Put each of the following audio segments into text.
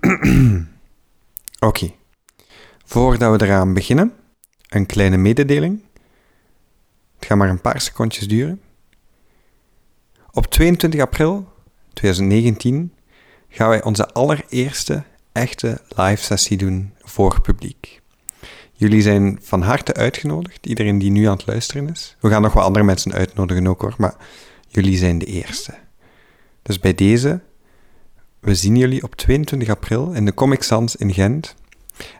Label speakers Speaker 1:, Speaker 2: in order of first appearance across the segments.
Speaker 1: Oké. Voordat we eraan beginnen, een kleine mededeling. Het gaat maar een paar secondjes duren. Op 22 april 2019 gaan wij onze allereerste echte live sessie doen voor publiek. Jullie zijn van harte uitgenodigd, iedereen die nu aan het luisteren is. We gaan nog wel andere mensen uitnodigen ook hoor, maar jullie zijn de eerste. Dus bij deze, we zien jullie op 22 april in de Comic Sans in Gent.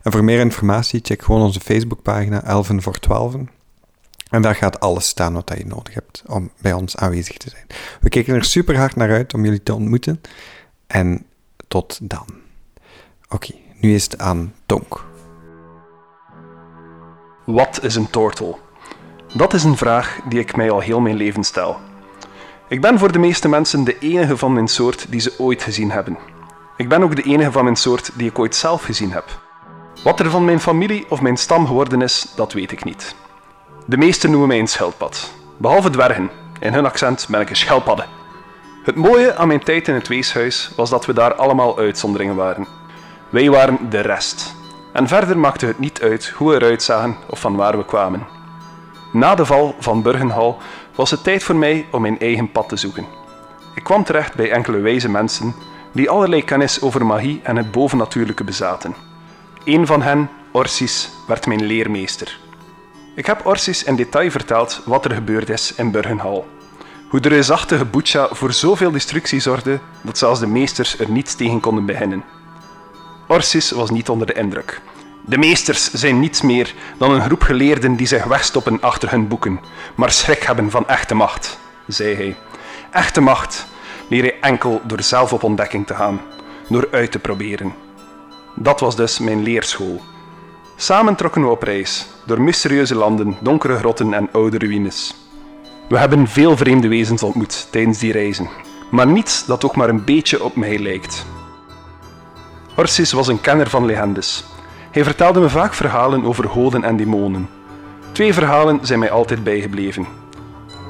Speaker 1: En voor meer informatie check gewoon onze Facebookpagina Elven voor Twaalfen. En daar gaat alles staan wat je nodig hebt om bij ons aanwezig te zijn. We kijken er super hard naar uit om jullie te ontmoeten. En tot dan. Oké, nu is het aan Tonk.
Speaker 2: Wat is een tortel? Dat is een vraag die ik mij al heel mijn leven stel. Ik ben voor de meeste mensen de enige van mijn soort die ze ooit gezien hebben. Ik ben ook de enige van mijn soort die ik ooit zelf gezien heb. Wat er van mijn familie of mijn stam geworden is, dat weet ik niet. De meesten noemen mij een schildpad. Behalve dwergen. In hun accent ben ik een schelpadde. Het mooie aan mijn tijd in het weeshuis was dat we daar allemaal uitzonderingen waren. Wij waren de rest. En verder maakte het niet uit hoe we eruit zagen of van waar we kwamen. Na de val van Burgenhal was het tijd voor mij om mijn eigen pad te zoeken. Ik kwam terecht bij enkele wijze mensen die allerlei kennis over magie en het bovennatuurlijke bezaten. Een van hen, Orsis, werd mijn leermeester. Ik heb Orsis in detail verteld wat er gebeurd is in Burgenhal. Hoe de reusachtige Butcha voor zoveel destructie zorgde dat zelfs de meesters er niets tegen konden beginnen. Orsis was niet onder de indruk. De meesters zijn niets meer dan een groep geleerden die zich wegstoppen achter hun boeken, maar schrik hebben van echte macht, zei hij. Echte macht leer je enkel door zelf op ontdekking te gaan, door uit te proberen. Dat was dus mijn leerschool. Samen trokken we op reis, door mysterieuze landen, donkere grotten en oude ruïnes. We hebben veel vreemde wezens ontmoet tijdens die reizen, maar niets dat ook maar een beetje op mij lijkt. Orsis was een kenner van legendes. Hij vertelde me vaak verhalen over goden en demonen. Twee verhalen zijn mij altijd bijgebleven.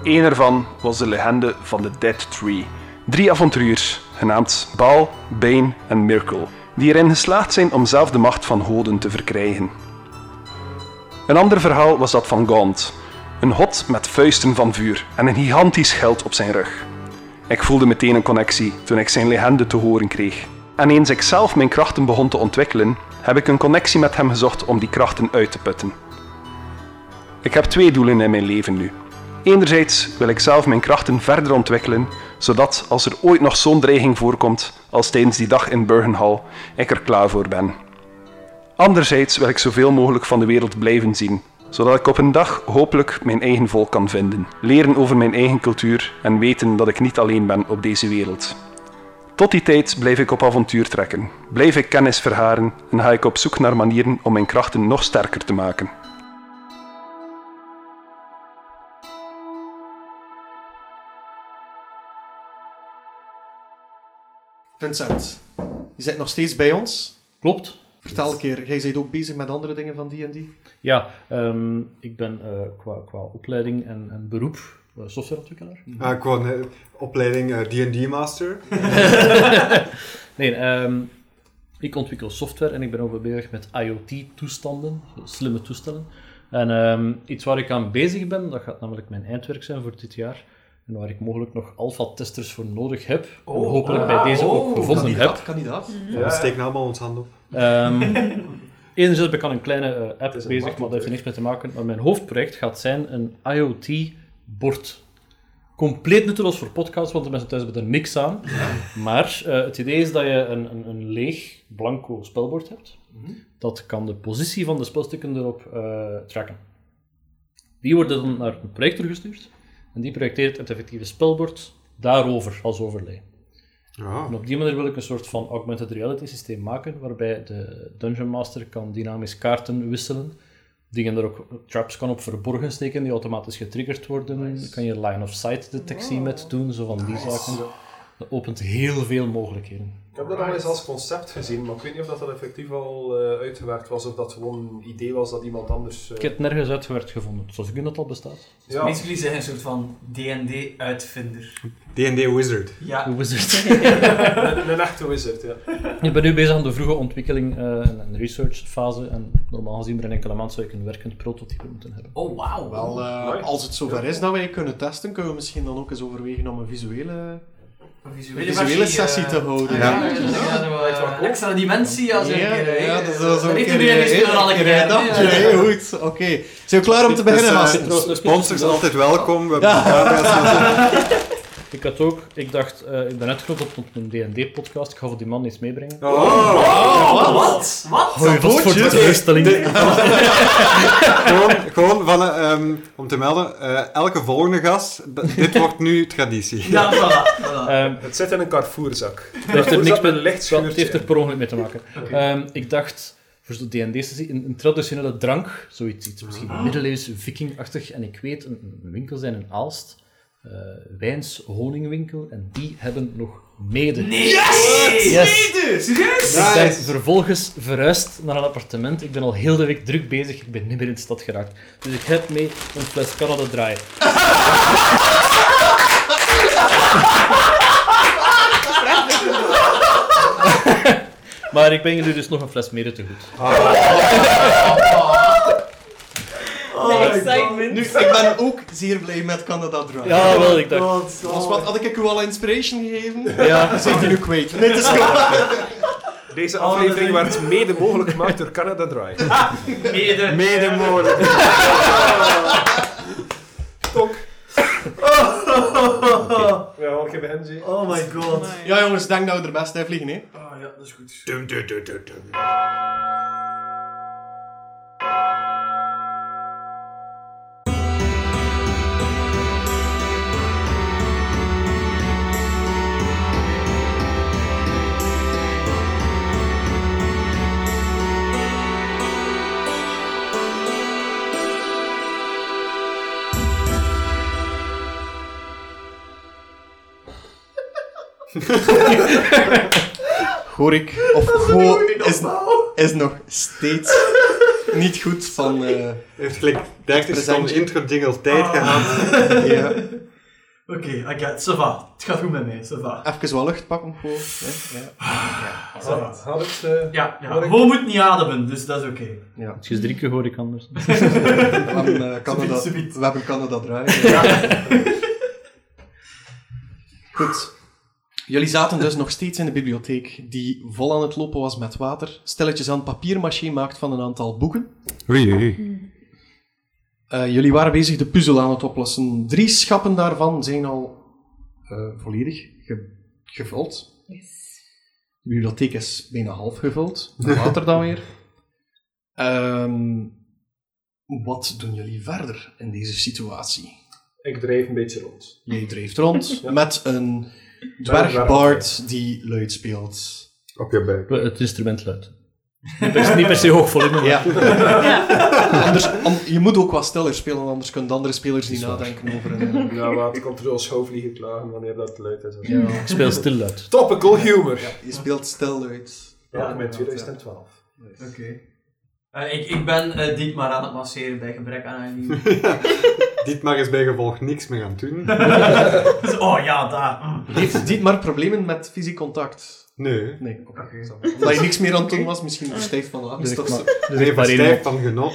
Speaker 2: Eén ervan was de legende van de Dead Tree. Drie avonturiers, genaamd Baal, Bane en Miracle, die erin geslaagd zijn om zelf de macht van goden te verkrijgen. Een ander verhaal was dat van Gaunt. Een hot met vuisten van vuur en een gigantisch geld op zijn rug. Ik voelde meteen een connectie toen ik zijn legende te horen kreeg. En eens ik zelf mijn krachten begon te ontwikkelen, heb ik een connectie met hem gezocht om die krachten uit te putten. Ik heb twee doelen in mijn leven nu. Enerzijds wil ik zelf mijn krachten verder ontwikkelen, zodat als er ooit nog zo'n dreiging voorkomt als tijdens die dag in Burgenhal, ik er klaar voor ben. Anderzijds wil ik zoveel mogelijk van de wereld blijven zien, zodat ik op een dag hopelijk mijn eigen volk kan vinden, leren over mijn eigen cultuur en weten dat ik niet alleen ben op deze wereld. Tot die tijd blijf ik op avontuur trekken, blijf ik kennis vergaren en ga ik op zoek naar manieren om mijn krachten nog sterker te maken.
Speaker 3: Vincent, je zit nog steeds bij ons.
Speaker 4: Klopt.
Speaker 3: Vertel een keer, jij bent ook bezig met andere dingen van die en die.
Speaker 4: Ja, ehm, ik ben eh, qua, qua opleiding en, en beroep eh, softwareontwikkelaar.
Speaker 5: Ah, ik wou een eh, opleiding eh, D&D Master.
Speaker 4: Nee, ehm, ik ontwikkel software en ik ben ook bezig met IoT-toestanden, slimme toestellen. En ehm, iets waar ik aan bezig ben, dat gaat namelijk mijn eindwerk zijn voor dit jaar. En waar ik mogelijk nog alpha-testers voor nodig heb. en hopelijk bij deze ook gevonden heb.
Speaker 3: kandidaat, kandidaat.
Speaker 5: We steken allemaal ons hand op.
Speaker 4: Ehm enerzijds ben ik aan een kleine eh, app bezig, maar daar heeft er niks mee te maken. Maar mijn hoofdproject gaat zijn een IoT-bord. Compleet nutteloos voor podcasts, want de mensen thuis hebben er niks aan. Maar eh, het idee is dat je een, een, een leeg, blanco spelbord hebt. Dat kan de positie van de spelstukken erop eh, tracken. Die worden dan naar een projector gestuurd. En die projecteert het effectieve spelbord daarover als overlay.
Speaker 5: Ja.
Speaker 4: En op die manier wil ik een soort van augmented reality systeem maken, waarbij de Dungeon Master kan dynamisch kaarten wisselen, dingen er ook traps kan op verborgen steken, die automatisch getriggerd worden. Dan kan je line of sight detectie met doen, zo van die zaken. Dat opent heel veel mogelijkheden.
Speaker 2: heb dat al eens als concept gezien, maar ik weet niet of dat, dat effectief al eh, uitgewerkt was of dat gewoon een idee was dat iemand anders. eh,
Speaker 4: Ik heb het nergens uitgewerkt gevonden, zoals ik denk dat het al bestaat.
Speaker 2: ja.
Speaker 6: Basically zijn een soort van D&D-uitvinder.
Speaker 5: D&D Wizard.
Speaker 6: Ja.
Speaker 4: Hoe wizard.
Speaker 2: Een, een echte wizard, ja.
Speaker 4: Ik ben nu bezig aan de vroege ontwikkeling eh, en en researchfase. En normaal gezien, binnen enkele maand zou ik een werkend prototype moeten hebben.
Speaker 6: Oh, wauw.
Speaker 3: Wel, eh,
Speaker 2: Mooi.
Speaker 3: als het zover is dat wij het kunnen testen, kunnen we misschien dan ook eens overwegen om een visuele,
Speaker 6: Een
Speaker 3: een
Speaker 6: visuele,
Speaker 3: visuele
Speaker 6: versie,
Speaker 3: sessie
Speaker 6: eh,
Speaker 3: te houden.
Speaker 6: Ja,
Speaker 3: Ja.
Speaker 6: ja, dus ik had wel, eh, extra dimensie als een
Speaker 3: Ja,
Speaker 6: keer, eh,
Speaker 3: ja, dat is wel zo.
Speaker 6: er heeft
Speaker 3: een
Speaker 6: iedereen
Speaker 3: keer,
Speaker 6: gespeeld
Speaker 3: eh,
Speaker 6: alle
Speaker 3: een
Speaker 6: keer, hè.
Speaker 3: dagje,
Speaker 6: Ja, ja,
Speaker 3: hè. Goed, oké. Zijn we klaar om te beginnen,
Speaker 5: Dus, eh,
Speaker 3: gasten?
Speaker 4: trouwens,
Speaker 5: Sponsors
Speaker 4: dat-
Speaker 5: altijd welkom. We
Speaker 3: Ja.
Speaker 4: Ik had ook, ik dacht, eh, ik ben uitgenodigd op een DD-podcast. Ik ga voor die man iets meebrengen.
Speaker 5: Oh,
Speaker 6: Oh, wat? Wat?
Speaker 4: Hoi, wat voor
Speaker 5: Voetjes.
Speaker 4: teleurstelling.
Speaker 5: gewoon, gewoon van, eh, ehm, om te melden, eh, elke volgende gast, d- dit wordt nu traditie.
Speaker 6: Ja, voilà. voilà.
Speaker 4: Ehm,
Speaker 2: Het zit in een carrefourzak.
Speaker 4: Het heeft er niks
Speaker 2: Voorzat met
Speaker 4: met
Speaker 2: een licht
Speaker 4: wel,
Speaker 2: schuurtje.
Speaker 4: Het heeft er per ongeluk mee te maken. Ehm, ik dacht, voor zo'n D&D-sessie, een, een traditionele drank, zoiets, iets misschien middeleeuws, vikingachtig. En ik weet, een, een winkel zijn in Aalst, eh, wijns, honingwinkel, en die hebben nog mede.
Speaker 6: Nee, yes!
Speaker 4: Yes.
Speaker 6: Nee, dus. Serieus?
Speaker 4: Ik ben
Speaker 5: Nice.
Speaker 4: vervolgens verhuisd naar een appartement. Ik ben al heel de week druk bezig. Ik ben niet meer in de stad geraakt. Dus ik heb mee een fles Canada Dry. maar ik ben jullie dus nog een fles mede te goed.
Speaker 6: Oh excitement.
Speaker 3: Nu, ik ben ook zeer blij met Canada Dry.
Speaker 4: Ja, Ah, wel, ik dacht.
Speaker 5: Want,
Speaker 3: Als wat, had ik u al inspiration gegeven?
Speaker 4: Ja,
Speaker 3: Dan zit je nu kwijt. Nee, het is goed.
Speaker 2: Deze
Speaker 6: dat
Speaker 2: aflevering
Speaker 6: is-
Speaker 2: werd mede mogelijk gemaakt door Canada Dry.
Speaker 3: Ah,
Speaker 6: Mede.
Speaker 5: Mede mogelijk.
Speaker 2: Ja, want ik heb hem gezien.
Speaker 6: Oh my god.
Speaker 3: Ja jongens, denk dat we er best uit vliegen, hè.
Speaker 6: Ah, ja, dat is goed.
Speaker 5: Dum, dum, dum, dum, dum.
Speaker 3: Gorik, of Go, is, is nog steeds niet goed van... eh,
Speaker 5: Heeft gelijk 30 seconden
Speaker 3: Presentje. Ah.
Speaker 5: intro jingle tijd gehad.
Speaker 3: ja.
Speaker 6: Oké, I got ça va. Het gaat goed met mij, ça va.
Speaker 3: Even wel lucht pakken, gewoon. hè. Ja.
Speaker 2: Had, had het, eh,
Speaker 6: Ja, ja.
Speaker 2: Hoor ik-
Speaker 6: Mo moet niet ademen, dus dat is oké.
Speaker 3: Ja.
Speaker 4: het is drie keer hoor ik anders.
Speaker 3: We, hebben, eh, Canada,
Speaker 6: Subiet,
Speaker 3: we hebben Canada draaien. Goed. Jullie zaten dus nog steeds in de bibliotheek, die vol aan het lopen was met water, stilletjes aan papiermaché maakt van een aantal boeken.
Speaker 5: Oei, oei.
Speaker 3: Eh, jullie waren bezig de puzzel aan het oplossen. Drie schappen daarvan zijn al eh, volledig ge- gevuld. De bibliotheek is bijna half gevuld. Met Water dan weer. Ehm, wat doen jullie verder in deze situatie?
Speaker 2: ik dreef een beetje rond.
Speaker 3: Jij dreeft rond
Speaker 2: Ja.
Speaker 3: met een dwergbaard die luid speelt.
Speaker 5: Op je buik.
Speaker 4: Het instrument luidt. Niet per, niet per se hoog volume.
Speaker 3: Ja. Anders, an- je moet ook wat stiller spelen, anders kunnen de andere spelers niet nadenken over een...
Speaker 2: Ja, laat controle schoofvliegen klagen wanneer dat luid is.
Speaker 3: Ja.
Speaker 4: Ik speel stil luid.
Speaker 2: Topical humor. Ja,
Speaker 3: Je speelt stil luid.
Speaker 6: Ja,
Speaker 2: met
Speaker 6: inderdaad,
Speaker 2: 2012.
Speaker 6: Oké. Eh, ik, ik ben eh Dietmar aan het masseren bij gebrek aan een nieuwe.
Speaker 5: Dietmar is bijgevolg niks meer aan het doen.
Speaker 6: Dus, oh ja, daar. Mm.
Speaker 3: Heeft dit maar problemen met fysiek contact?
Speaker 5: Nee.
Speaker 3: Nee, oké. Omdat je niks meer aan het doen was, misschien verstijf van de
Speaker 4: Dus
Speaker 3: angst.
Speaker 4: ik,
Speaker 3: of
Speaker 4: ma-
Speaker 3: zo.
Speaker 4: dus
Speaker 5: Nee,
Speaker 4: ik maar één
Speaker 5: verstijf van genot.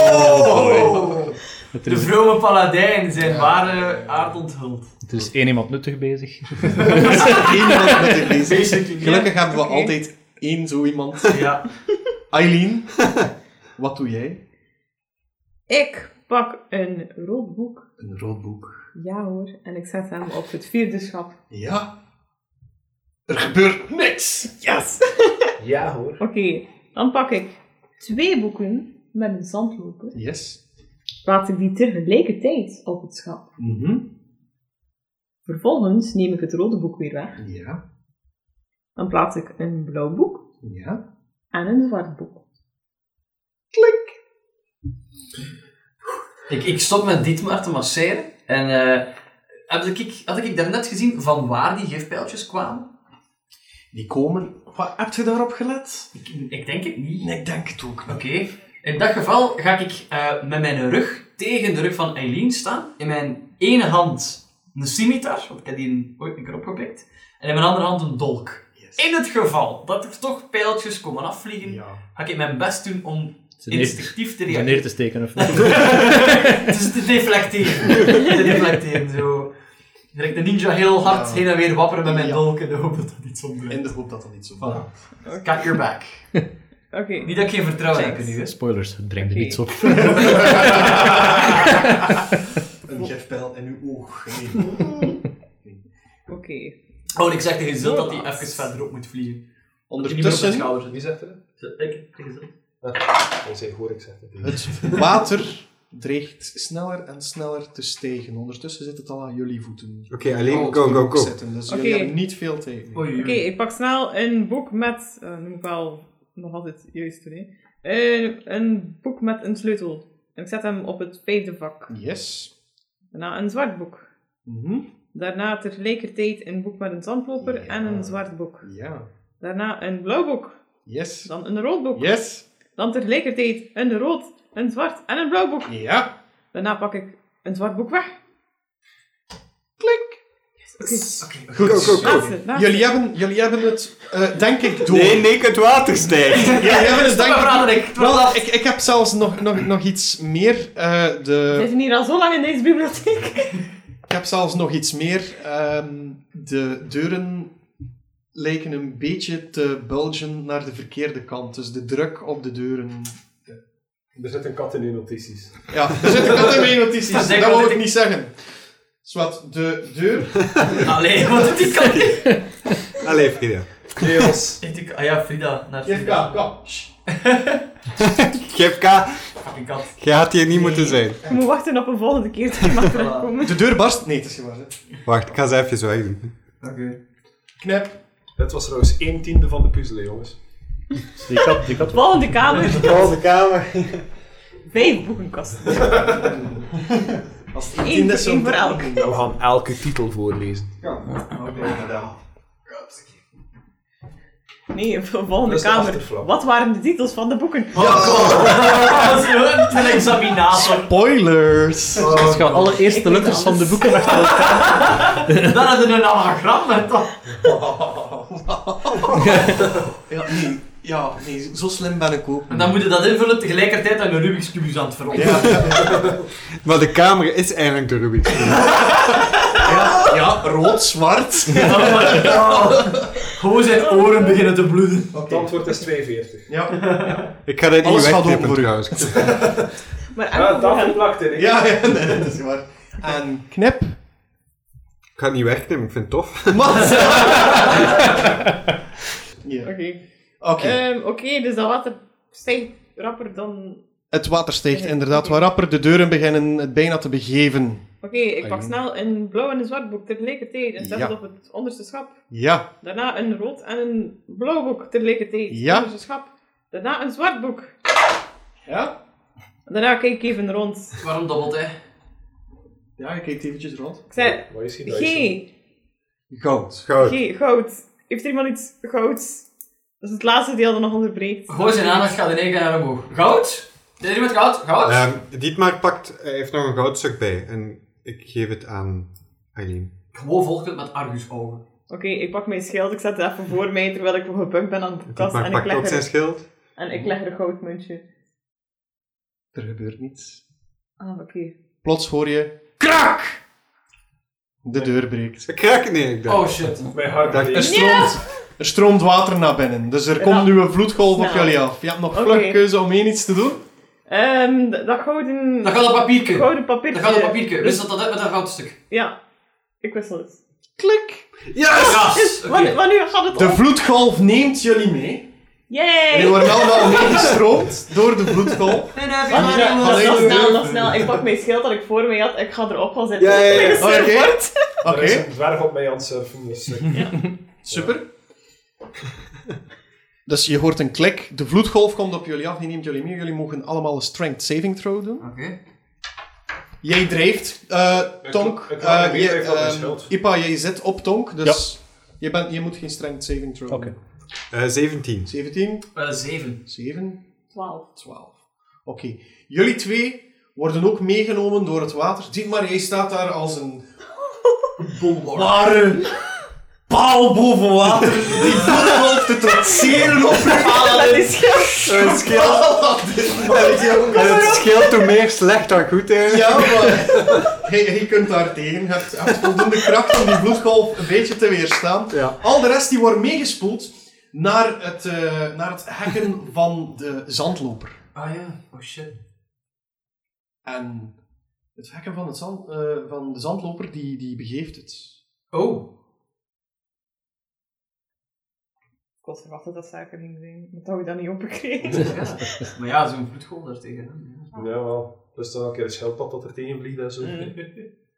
Speaker 6: Oh!
Speaker 4: Het
Speaker 6: De
Speaker 4: is-
Speaker 6: vrome paladijn zijn ware aard onthuld.
Speaker 4: er is één iemand nuttig bezig.
Speaker 3: Eén iemand met dit bezig.
Speaker 6: Basically,
Speaker 3: Gelukkig hebben we
Speaker 6: Oké.
Speaker 3: altijd één zo iemand.
Speaker 6: Ja.
Speaker 3: Eileen, wat doe jij?
Speaker 7: Ik pak een rood boek.
Speaker 3: Een rood boek.
Speaker 7: Ja hoor. En ik zet hem op het vierde schap.
Speaker 3: Ja. Er gebeurt niks.
Speaker 7: Yes!
Speaker 2: Ja hoor.
Speaker 7: Oké, dan pak ik twee boeken met een zandloper.
Speaker 3: Yes.
Speaker 7: Plaats ik die tegelijkertijd op het schap.
Speaker 3: Mhm.
Speaker 7: Vervolgens neem ik het rode boek weer weg.
Speaker 3: Ja.
Speaker 7: Dan plaats ik een blauw boek
Speaker 3: Ja.
Speaker 7: en een zwart boek.
Speaker 6: Ik, ik stop met Dietmar te masseren. En eh, heb ik, had ik daarnet gezien van waar die gifpijltjes kwamen?
Speaker 3: Die komen... Wat, heb je daarop gelet?
Speaker 6: Ik, ik denk het niet.
Speaker 3: Nee, ik denk het ook niet.
Speaker 6: Oké. In dat geval ga ik eh, met mijn rug tegen de rug van Eileen staan. In mijn ene hand een scimitar, want ik heb die ooit een keer opgepikt. En in mijn andere hand een dolk. In het geval dat er toch pijltjes komen afvliegen,
Speaker 3: Ja.
Speaker 6: ga ik mijn best doen om
Speaker 4: Ze neer,
Speaker 6: instinctief te
Speaker 4: ze
Speaker 6: reageren.
Speaker 4: neer te steken of niet.
Speaker 6: Dus te deflecteren. te deflecteren, zo. Direct de ninja heel hard
Speaker 3: Ja.
Speaker 6: heen en weer wapperen met mijn
Speaker 3: Ja.
Speaker 6: dolk in de hoop dat dat iets
Speaker 3: In
Speaker 6: onderneemt.
Speaker 3: de hoop dat dat niet zo
Speaker 6: Voilà.
Speaker 3: gaat.
Speaker 6: Cut your back.
Speaker 7: Oké.
Speaker 6: Niet dat ik geen vertrouwen heb
Speaker 7: Checks.
Speaker 6: nu, hè.
Speaker 4: Spoilers, het brengt er
Speaker 7: Oké.
Speaker 4: niets op.
Speaker 3: Een gifpijl in uw oog. Nee.
Speaker 7: Oké.
Speaker 6: Oh, en ik zeg tegen Zil dat hij even verderop moet vliegen.
Speaker 3: Ondertussen...
Speaker 8: Wie zegt er?
Speaker 6: Ik tegen Zil.
Speaker 8: Als hij hoor ik zeg het.
Speaker 3: Het water dreigt sneller en sneller te stijgen. Ondertussen zit het al aan jullie voeten.
Speaker 5: Oké, alleen
Speaker 3: Al
Speaker 5: go,
Speaker 3: op de
Speaker 5: go,
Speaker 3: hoek
Speaker 5: go.
Speaker 3: Zitten, dus
Speaker 7: Oké.
Speaker 3: jullie hebben niet veel tegen.
Speaker 6: Oei, oei.
Speaker 7: Oké, ik pak snel een boek met, eh, noem ik wel nog altijd juist toen, hè. Een, een boek met een sleutel. En ik zet hem op het vijfde vak.
Speaker 3: Yes.
Speaker 7: Daarna een zwart boek.
Speaker 3: Mhm.
Speaker 7: Daarna tegelijkertijd een boek met een zandloper
Speaker 3: Ja.
Speaker 7: en een zwart boek.
Speaker 3: Ja.
Speaker 7: Daarna een blauw boek.
Speaker 3: Yes.
Speaker 7: Dan een rood boek.
Speaker 3: Yes.
Speaker 7: Dan tegelijkertijd een rood, een zwart en een blauw boek.
Speaker 3: Ja.
Speaker 7: Daarna pak ik een zwart boek weg. Klik. Yes, Oké,
Speaker 3: Goed.
Speaker 7: laatste, laatste.
Speaker 3: Jullie, hebben, jullie hebben het, eh, denk ik, door.
Speaker 5: Nee, Nick, het water stijgt.
Speaker 3: Jullie hebben het, denk
Speaker 6: Stop
Speaker 3: ik...
Speaker 6: maar, Roderick. Het wordt
Speaker 3: Wel,
Speaker 6: af.
Speaker 3: ik, ik heb zelfs nog, nog, nog iets meer. eh, de,
Speaker 7: We zitten hier al zo lang in deze bibliotheek.
Speaker 3: Ik heb zelfs nog iets meer. Ehm, de deuren lijken een beetje te bulgen naar de verkeerde kant. Dus de druk op de deuren.
Speaker 8: Er zit een kat in uw notities.
Speaker 3: Ja, er zitten kat in mijn notities.
Speaker 6: Dat
Speaker 3: Dat,
Speaker 6: zeg
Speaker 3: wou
Speaker 6: dat
Speaker 3: ik
Speaker 6: ik-
Speaker 3: niet zeggen. Zwat, de deur.
Speaker 6: Allee, want die kan niet.
Speaker 5: Allee, Frida.
Speaker 8: Chaos.
Speaker 6: Echt, ik- Ah ja, Frida. Naar Frida.
Speaker 3: Jefka, kom.
Speaker 5: GFK,
Speaker 6: Fucking kat.
Speaker 5: je had hier niet moeten zijn.
Speaker 7: Ik moet wachten op een volgende keer dat je mag terugkomen.
Speaker 3: De deur barst. Nee, het is gewaar.
Speaker 5: Wacht, ik ga ze even weg doen.
Speaker 3: Knip.
Speaker 8: Dat was trouwens 1 tiende van de puzzelen, jongens.
Speaker 4: Die kat, die kat
Speaker 7: Volgende kamer.
Speaker 5: Volgende kamer.
Speaker 7: Vijf boekenkasten.
Speaker 3: Als
Speaker 7: Eén voor- één voor elk.
Speaker 8: we gaan elke titel voorlezen.
Speaker 7: Nee, volgende
Speaker 8: Dat is de
Speaker 7: kamer.
Speaker 8: achterflap.
Speaker 7: Wat waren de titels van de boeken?
Speaker 6: Dat is een- een examinator.
Speaker 3: Spoilers.
Speaker 8: Oh.
Speaker 4: gaat alle
Speaker 7: Ik
Speaker 4: eerste
Speaker 7: weet
Speaker 4: letters van de
Speaker 7: alles.
Speaker 4: boeken achter elkaar.
Speaker 6: Dan hadden we een anagram met dat.
Speaker 3: Ja, nee. Ja, nee, zo slim ben ik ook.
Speaker 6: En dan moet je dat invullen tegelijkertijd aan een Rubik's Cube aan het veranderen.
Speaker 3: Ja, ja,
Speaker 5: Maar de kamer is eigenlijk de Rubik's Cube.
Speaker 3: ja, ja, rood, zwart.
Speaker 6: Oh. Gewoon zijn oren beginnen te bloeden.
Speaker 8: Het antwoord
Speaker 2: dus
Speaker 8: is 42.
Speaker 3: Ja,
Speaker 5: Ik ga dit niet
Speaker 3: Alles gaat
Speaker 5: wegtippen
Speaker 3: open voor u.
Speaker 5: trouwens.
Speaker 7: Maar
Speaker 8: Ja,
Speaker 7: enkel voor
Speaker 8: dat
Speaker 7: hem.
Speaker 8: plakt in.
Speaker 3: ja, ja nee, dat is waar. En knip.
Speaker 5: Ik ga het niet wegnemen, ik vind het tof.
Speaker 3: Ja. Oké.
Speaker 7: Oké,
Speaker 3: Eh.
Speaker 7: Ehm, oké, dus dat water stijgt rapper dan...
Speaker 3: Het water steekt inderdaad wat rapper. De deuren beginnen het bijna te begeven.
Speaker 7: Oké, ik pak snel een blauw en een zwart boek tegelijkertijd en zet
Speaker 3: Ja.
Speaker 7: het op het onderste schap.
Speaker 3: Ja,
Speaker 7: Daarna een rood en een blauw boek tegelijkertijd.
Speaker 3: Ja.
Speaker 7: Onderste schap. Daarna een zwart boek.
Speaker 3: Ja?
Speaker 7: Daarna kijk ik even rond.
Speaker 6: Waarom dobbelt hij?
Speaker 3: ja, je kijkt eventjes rond.
Speaker 7: Ik zei,
Speaker 8: Wat is hier
Speaker 7: G,
Speaker 8: nou eens?
Speaker 3: Goud.
Speaker 5: Goud.
Speaker 7: G, goud. Heeft er iemand iets gouds? Dat is het laatste deel dat nog onderbreekt.
Speaker 6: Gewoon zijn aandacht gaat in één keer naar omhoog. Goud? Is er iemand goud? Goud?
Speaker 5: Ehm, Dietmar pakt, hij heeft nog een goudstuk bij. En ik geef het aan Eileen.
Speaker 6: Gewoon volgt het met Argus ogen.
Speaker 7: Oké, ik pak mijn schild, ik zet het even voor mij terwijl ik gepumpt ben aan de kast
Speaker 5: Dietmar
Speaker 7: en ik,
Speaker 5: pakt ook
Speaker 7: leg
Speaker 5: zijn
Speaker 7: er,
Speaker 5: schild.
Speaker 7: en ik leg er een goudmuntje.
Speaker 3: Er gebeurt niets.
Speaker 7: Ah, oké.
Speaker 3: Plots hoor je... KRAK! De deur breekt.
Speaker 5: Ik raak het niet, ik dacht.
Speaker 6: Oh shit.
Speaker 8: Mijn hart
Speaker 5: Dag.
Speaker 3: Er
Speaker 8: breekt.
Speaker 3: stroomt, er stroomt water naar binnen. Dus er komt nu een vloedgolf op
Speaker 7: Snel.
Speaker 3: jullie af. Je hebt nog
Speaker 7: Oké.
Speaker 3: vlug keuze om één iets te doen.
Speaker 7: Ehm, d- dat gouden...
Speaker 6: Dan gaat het papierke.
Speaker 7: Gouden papier.
Speaker 6: Dan gaat het papierke. Wist dat dat uit met dat goudstuk?
Speaker 7: Dus, Ja. Ik wissel het.
Speaker 3: Klik!
Speaker 6: Yes! Oké.
Speaker 7: Want, want nu gaat het
Speaker 3: De
Speaker 7: om.
Speaker 3: vloedgolf neemt jullie mee.
Speaker 7: Yay!
Speaker 3: Jullie worden allemaal meegestroomd door de vloedgolf.
Speaker 6: Nee, nee,
Speaker 7: Wacht,
Speaker 6: nee,
Speaker 7: nog- nog,
Speaker 6: nee,
Speaker 7: nog
Speaker 6: nee.
Speaker 7: snel, nog snel. Ik pak mijn schild dat ik voor mij had. Ik ga erop gaan zitten.
Speaker 5: Ja, ja, ja.
Speaker 7: Ik
Speaker 3: Oké.
Speaker 7: ben gesurfd.
Speaker 3: Oké,
Speaker 8: Er is een dwerg op mij aan het surfen. Dus, eh,
Speaker 3: super. Dus je hoort een klik. De vloedgolf komt op jullie af. Die neemt jullie mee. Jullie mogen allemaal een strength saving throw doen.
Speaker 6: Oké.
Speaker 3: Jij drijft. eh,
Speaker 8: Ik-
Speaker 3: Tonk.
Speaker 8: ik ga
Speaker 3: eh,
Speaker 8: mee
Speaker 3: je-
Speaker 8: drijven op mijn
Speaker 3: ehm,
Speaker 8: schild.
Speaker 3: Ipa, jij zit op Tonk, dus Je, bent, je moet geen strength saving throw.
Speaker 4: Oké.
Speaker 3: doen.
Speaker 5: Eh, 17.
Speaker 3: 17,
Speaker 6: Eh, Zeven.
Speaker 3: 7,
Speaker 7: 12.
Speaker 3: 12. Oké. Jullie twee worden ook meegenomen door het water. Ziet maar, jij staat daar als een
Speaker 6: Bolworm.
Speaker 3: ware paal boven water. Die voetbal te trotseren op
Speaker 7: Dat is geld.
Speaker 5: Het scheelt, het scheelt hoe meer slecht dan goed, hè?
Speaker 3: Ja, maar je, je kunt daar tegen. Je hebt, je hebt voldoende kracht om die vloedgolf een beetje te weerstaan.
Speaker 5: Ja.
Speaker 3: Al de rest die wordt meegespoeld naar het, eh, naar het hekken van de zandloper.
Speaker 6: Ah ja, oh shit.
Speaker 3: En het hekken van, het zand, eh, van de zandloper, die, die begeeft het.
Speaker 6: Oh.
Speaker 7: Ik had verwacht dat dat zaken ging zijn, maar dat had ik dat niet opgekregen.
Speaker 6: Ja. Maar ja, zo'n vloedgolf daartegen. hè.
Speaker 8: Jawel. Dus dan een keer een schildpad dat er tegen vliegt en zo.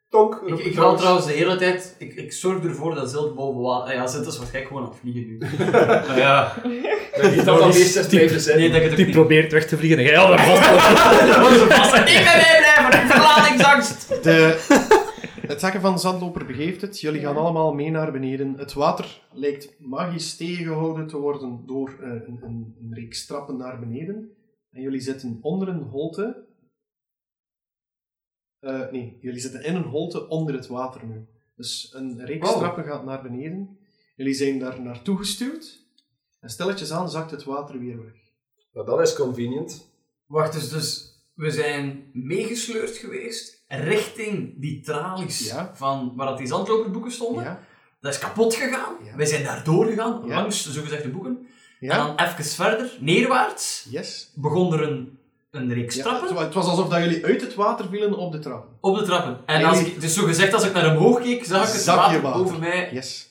Speaker 8: Tonk, roep
Speaker 6: Mm. Ik, ik
Speaker 8: ik
Speaker 6: haal
Speaker 8: langs.
Speaker 6: trouwens de hele tijd... Ik, ik zorg ervoor dat Zilt boven water... Ja, Zilt is waarschijnlijk gewoon aan het vliegen nu. Maar ja.
Speaker 8: Ik dacht dat meestal blijven
Speaker 6: Nee,
Speaker 8: zitten.
Speaker 6: dat ik het ook
Speaker 4: Die
Speaker 6: niet...
Speaker 4: probeert weg te vliegen en jij houdt hem vast.
Speaker 6: Ik ben bijblijven, ik verlatingsangst!
Speaker 3: De, het hekken van de zandloper begeeft het. Jullie gaan allemaal mee naar beneden. Het water lijkt magisch tegengehouden te worden door eh, een, een, een reeks trappen naar beneden. En jullie zitten onder een holte. Eh, nee, jullie zitten in een holte onder het water nu. Dus een reeks
Speaker 6: Wow.
Speaker 3: trappen gaat naar beneden. Jullie zijn daar naartoe gestuurd. En stilletjes aan zakt het water weer weg.
Speaker 8: Nou, dat is convenient.
Speaker 6: Wacht, dus, dus we zijn meegesleurd geweest richting die tralies
Speaker 3: Ja.
Speaker 6: van waar dat die zandloperboeken stonden.
Speaker 3: Ja?
Speaker 6: Dat is kapot gegaan.
Speaker 3: Ja.
Speaker 6: Wij zijn daar doorgegaan,
Speaker 3: Ja.
Speaker 6: langs de zogezegde boeken. En
Speaker 3: Ja?
Speaker 6: dan even verder, neerwaarts,
Speaker 3: Yes?
Speaker 6: begon er een, een reeks
Speaker 3: Ja,
Speaker 6: trappen
Speaker 3: het, wa- het was alsof dat jullie uit het water vielen op de trappen.
Speaker 6: op de trappen. En
Speaker 3: Nee,
Speaker 6: als
Speaker 3: nee.
Speaker 6: ik, dus zogezegd, als ik naar omhoog keek, zag ik het
Speaker 3: Zag je
Speaker 6: water,
Speaker 3: water.
Speaker 6: boven mij
Speaker 3: Yes.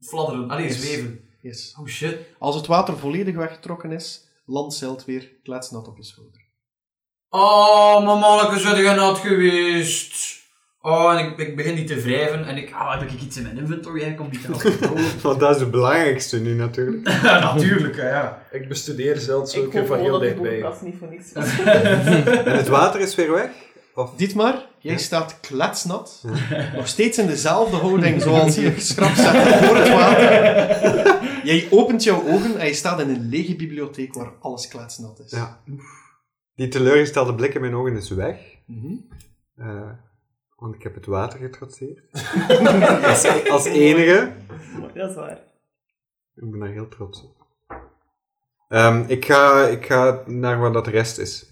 Speaker 6: fladderen. Allee,
Speaker 3: Yes.
Speaker 6: zweven.
Speaker 3: Yes.
Speaker 6: Oh shit.
Speaker 3: Als het water volledig weggetrokken is, landt Zeld weer kletsnat op je schouder.
Speaker 6: Oh, mijn manneke, zijn je nat geweest? Oh, en ik, ik begin die te wrijven en ik... Ah, heb ik iets in mijn inventory? Hij komt niet aan.
Speaker 5: Want dat is het belangrijkste nu natuurlijk.
Speaker 6: Ja, natuurlijk, hè, ja.
Speaker 8: Ik bestudeer zelfs
Speaker 7: Ik
Speaker 8: zo'n
Speaker 7: hoop
Speaker 8: keer van
Speaker 7: gewoon
Speaker 8: heel
Speaker 7: dat die
Speaker 8: dichtbij.
Speaker 7: boekenkast niet voor niks
Speaker 5: En het water is weer weg? Of...
Speaker 3: Dietmar, jij staat kletsnat, nog steeds in dezelfde houding zoals je geschrapt zat voor het water. Jij opent jouw ogen en je staat in een lege bibliotheek waar alles kletsnat is.
Speaker 5: Ja. Die teleurgestelde blik in mijn ogen is weg.
Speaker 3: Mhm.
Speaker 5: Eh, want ik heb het water getrotseerd. als, als enige.
Speaker 7: is. Dat is waar.
Speaker 5: Ik ben daar heel trots op. Ehm, ik, ga, ik ga naar waar dat de rest is.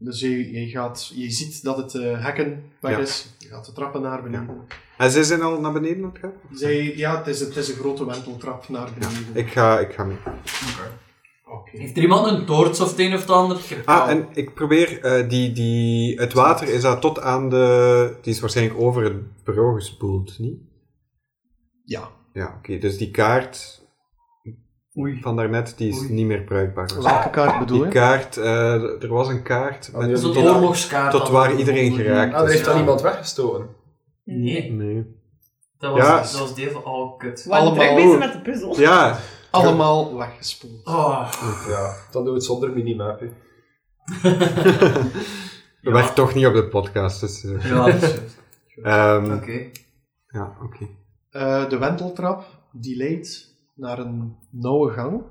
Speaker 3: Dus je, je, gaat, je ziet dat het eh, hekken weg
Speaker 5: Ja.
Speaker 3: is. Je gaat de trappen naar beneden.
Speaker 5: En Ah, ze zijn al naar beneden aan het gaan?
Speaker 3: Zij, ja, het is, het is een grote wenteltrap naar beneden.
Speaker 5: Ik ga, ik ga mee.
Speaker 3: Oké.
Speaker 6: Heeft er iemand een toorts of het een of het ander? Ik heb
Speaker 5: Ah,
Speaker 3: Oh.
Speaker 6: wel-
Speaker 5: en ik probeer... eh, die, die, het water is daar tot aan de... Die is waarschijnlijk over het bureau gespoeld, niet?
Speaker 3: Ja.
Speaker 5: Ja, oké. dus die kaart van daarnet, die is niet meer bruikbaar.
Speaker 3: Welke kaart bedoel
Speaker 5: Die
Speaker 3: je?
Speaker 5: kaart... eh, er was een kaart
Speaker 8: die
Speaker 5: met...
Speaker 8: is
Speaker 6: Dat is een
Speaker 5: tot-
Speaker 6: oorlogskaart.
Speaker 5: tot
Speaker 6: dan.
Speaker 5: waar iedereen geraakt
Speaker 8: Ah, er heeft
Speaker 6: Ja.
Speaker 8: dan iemand weggestoten.
Speaker 6: Nee,
Speaker 5: Nee.
Speaker 6: dat was,
Speaker 5: Ja.
Speaker 6: dat was deel van... Oh, kut.
Speaker 7: We waren druk
Speaker 3: Allemaal.
Speaker 7: bezig met de puzzel.
Speaker 5: Ja,
Speaker 3: Allemaal weggespoeld.
Speaker 6: Oh,
Speaker 8: Ja, dan doen we het zonder minimap. hè.
Speaker 5: we werken toch niet op de podcast. Dus, eh,
Speaker 6: ja, dat is juist.
Speaker 5: ehm,
Speaker 6: Oké.
Speaker 5: Ja, oké.
Speaker 3: Eh, de wenteltrap die leidt naar een nauwe gang.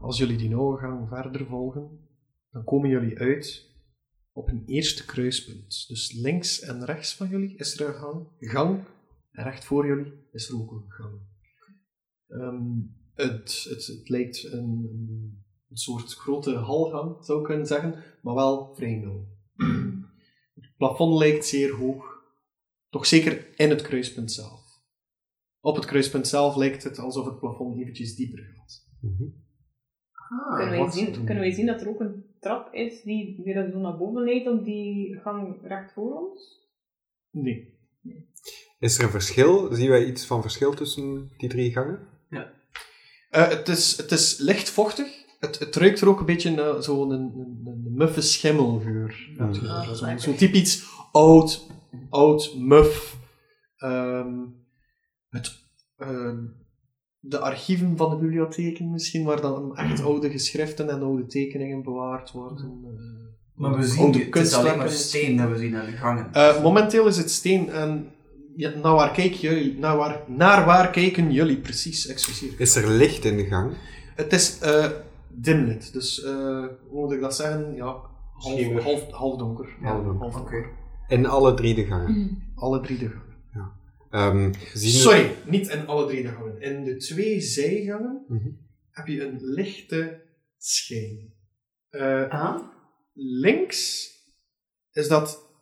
Speaker 3: Als jullie die nauwe gang verder volgen, dan komen jullie uit op een eerste kruispunt. Dus links en rechts van jullie is er een gang. gang en recht voor jullie is er ook een gang. Ehm, het, het, het lijkt een, een soort grote halgang, zou ik kunnen zeggen, maar wel vrij nauw. Het plafond lijkt zeer hoog, toch zeker in het kruispunt zelf. Op het kruispunt zelf lijkt het alsof het plafond eventjes dieper gaat. Ah,
Speaker 7: Kunnen, wij
Speaker 3: wat
Speaker 7: zien,
Speaker 3: ze doen.
Speaker 7: kunnen wij zien dat er ook een trap is die weer zo naar boven leidt op die gang recht voor ons?
Speaker 3: Nee.
Speaker 5: Is er een verschil? Zien wij iets van verschil tussen die drie gangen?
Speaker 3: Eh, het, is, het is licht vochtig. Het, het ruikt er ook een beetje naar zo'n een, een, een muffe schimmelgeur.
Speaker 5: Hmm.
Speaker 3: natuurlijk.
Speaker 7: Ah,
Speaker 3: Zo'n
Speaker 7: lekker.
Speaker 3: zo typisch oud, oud muf. Ehm, het, ehm, de archieven van de bibliotheken misschien, waar dan echt oude geschriften en oude tekeningen bewaard
Speaker 7: Mm.
Speaker 3: worden. eh.
Speaker 6: Maar we
Speaker 3: Oude
Speaker 6: zien... Het is alleen maar
Speaker 3: kunstwerken.
Speaker 6: steen dat we zien aan de gangen.
Speaker 3: Eh, momenteel is het steen en Ja, naar, waar kijk jullie, naar, waar, naar waar kijken jullie precies? Excuseer.
Speaker 5: Is er licht in de gang?
Speaker 3: Het is eh dimlit, dus eh, hoe moet ik dat zeggen? Ja, half,
Speaker 8: Schemer.
Speaker 3: half, half donker. Ja,
Speaker 5: Half donker.
Speaker 3: donker.
Speaker 5: In alle drie de gangen.
Speaker 3: Alle drie de gangen.
Speaker 5: Ehm, zien we-
Speaker 3: Sorry, niet in alle drie de gangen. In de twee zijgangen
Speaker 5: Mhm.
Speaker 3: heb je een lichte schijn. Eh,
Speaker 6: Ah,
Speaker 3: links is dat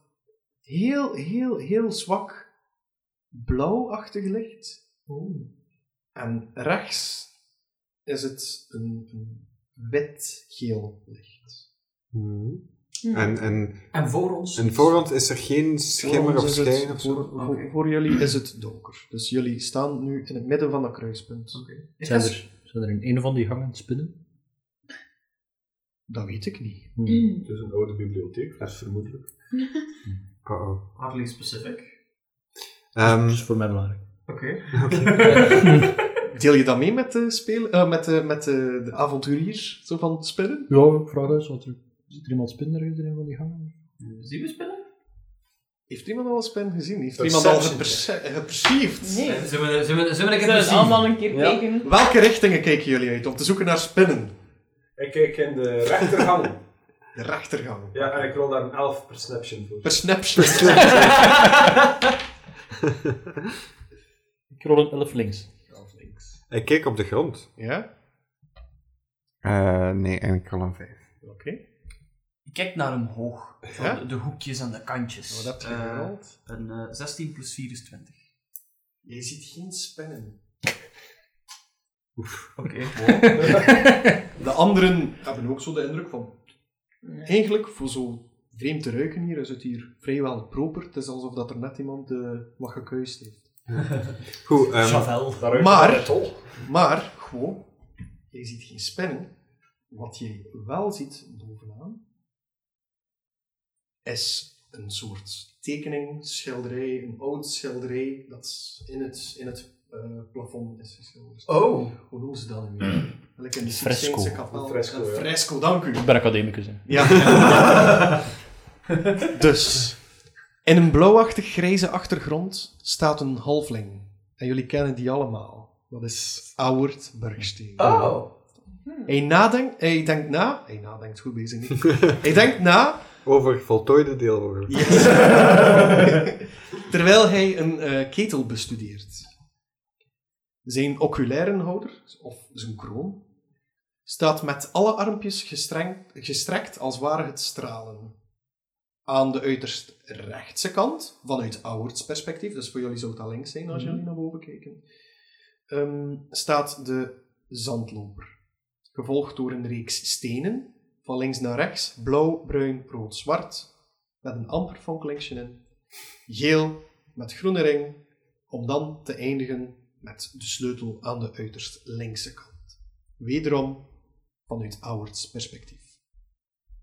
Speaker 3: heel, heel, heel zwak blauwachtig licht. En rechts is het een, een wit-geel licht.
Speaker 5: Mhm. En, en,
Speaker 6: en voor ons?
Speaker 5: en voor ons is er geen
Speaker 1: Oh.
Speaker 5: schimmer
Speaker 3: Voor
Speaker 5: of
Speaker 3: ons is het-
Speaker 5: schijn of zo?
Speaker 3: voor, voor, voor jullie is het donker. Dus jullie staan nu in het midden van dat kruispunt.
Speaker 6: Is
Speaker 4: Zijn
Speaker 6: dat-
Speaker 4: er, zijn er in een van die gangen spinnen?
Speaker 3: Dat weet ik niet.
Speaker 8: Hmm.
Speaker 4: Hmm.
Speaker 8: Het is een oude bibliotheek, dus vermoedelijk.
Speaker 5: Uh-oh.
Speaker 6: Hardly specific.
Speaker 4: Dat
Speaker 5: Ehm,
Speaker 4: is voor mij belangrijk.
Speaker 6: Oké.
Speaker 3: Deel je dat mee met de, speel, eh, met de, met de, de avonturier zo van spinnen?
Speaker 4: Ja, ik vraag eens, wat er, zit er iemand spinnen ergens in een van die gangen?
Speaker 6: Zien we spelen?
Speaker 3: Heeft iemand al een spin gezien? Heeft iemand al geperce- geperceived?
Speaker 7: Nee.
Speaker 6: Zullen we- Zullen we- zullen we zullen we een
Speaker 7: Ik
Speaker 6: keer
Speaker 7: zou het
Speaker 6: zien?
Speaker 7: allemaal een keer
Speaker 4: Ja.
Speaker 7: kijken.
Speaker 3: Welke richtingen kijken jullie uit om te zoeken naar spinnen?
Speaker 8: Ik kijk in de rechtergang.
Speaker 3: De rechtergang.
Speaker 8: ja, en ik rol daar een elf perception voor.
Speaker 3: Perception.
Speaker 4: Ik rol een elf links.
Speaker 5: ik kijk op de grond.
Speaker 3: ja?
Speaker 1: Eh, nee, en ik al een 5.
Speaker 3: Oké. Nou,
Speaker 6: Ik kijk naar omhoog. Van
Speaker 3: Ja?
Speaker 6: de, de hoekjes en de kantjes.
Speaker 3: Wat heb je
Speaker 6: Eh,
Speaker 3: gerold?
Speaker 6: Een eh, 16 plus 4 is 20.
Speaker 3: Je ziet geen spinnen.
Speaker 6: Oké.
Speaker 3: De anderen hebben ook zo de indruk van... Eigenlijk, voor zo vreemd te ruiken hier, is het hier vrijwel proper. Het is alsof dat er net iemand eh, wat gekuist heeft.
Speaker 5: Goed, ehm,
Speaker 6: Javel.
Speaker 8: Daaruit
Speaker 3: Maar-
Speaker 8: naar het hol.
Speaker 3: Maar, gewoon, je ziet geen spinnen. Wat je wel ziet bovenaan, is een soort tekening, schilderij, een oud schilderij, dat in het, in het eh, plafond is geschilderd.
Speaker 6: Oh.
Speaker 3: Hoe noemen ze dat nu weer? Like in de
Speaker 4: Fresco.
Speaker 3: Sixtijnse kapel.
Speaker 8: Een Mm. fresco,
Speaker 3: Een
Speaker 8: ja.
Speaker 3: fresco, dank u.
Speaker 4: Ik ben academicus, hè.
Speaker 3: Ja. dus, in een blauwachtig grijze achtergrond staat een halfling. En jullie kennen die allemaal. Dat is Auwert Bergsteen.
Speaker 6: Oh.
Speaker 3: Hij, nadenkt, hij denkt na. Hij nadenkt goed bezig. niet. hij denkt na.
Speaker 5: over voltooide deelwoorden.
Speaker 3: terwijl hij een eh, ketel bestudeert. Zijn ocularenhouder, of zijn kroon, staat met alle armpjes gestreng- gestrekt als ware het stralen. Aan de uiterst rechtse kant, vanuit Auwerts perspectief, dus voor jullie zou dat links zijn als jullie naar boven kijken, ehm, staat de zandloper. Gevolgd door een reeks stenen, van links naar rechts, blauw, bruin, rood, zwart, met een amper vonkelingsje in, geel met groene ring, om dan te eindigen met de sleutel aan de uiterst linkse kant. Wederom vanuit Auwerts perspectief.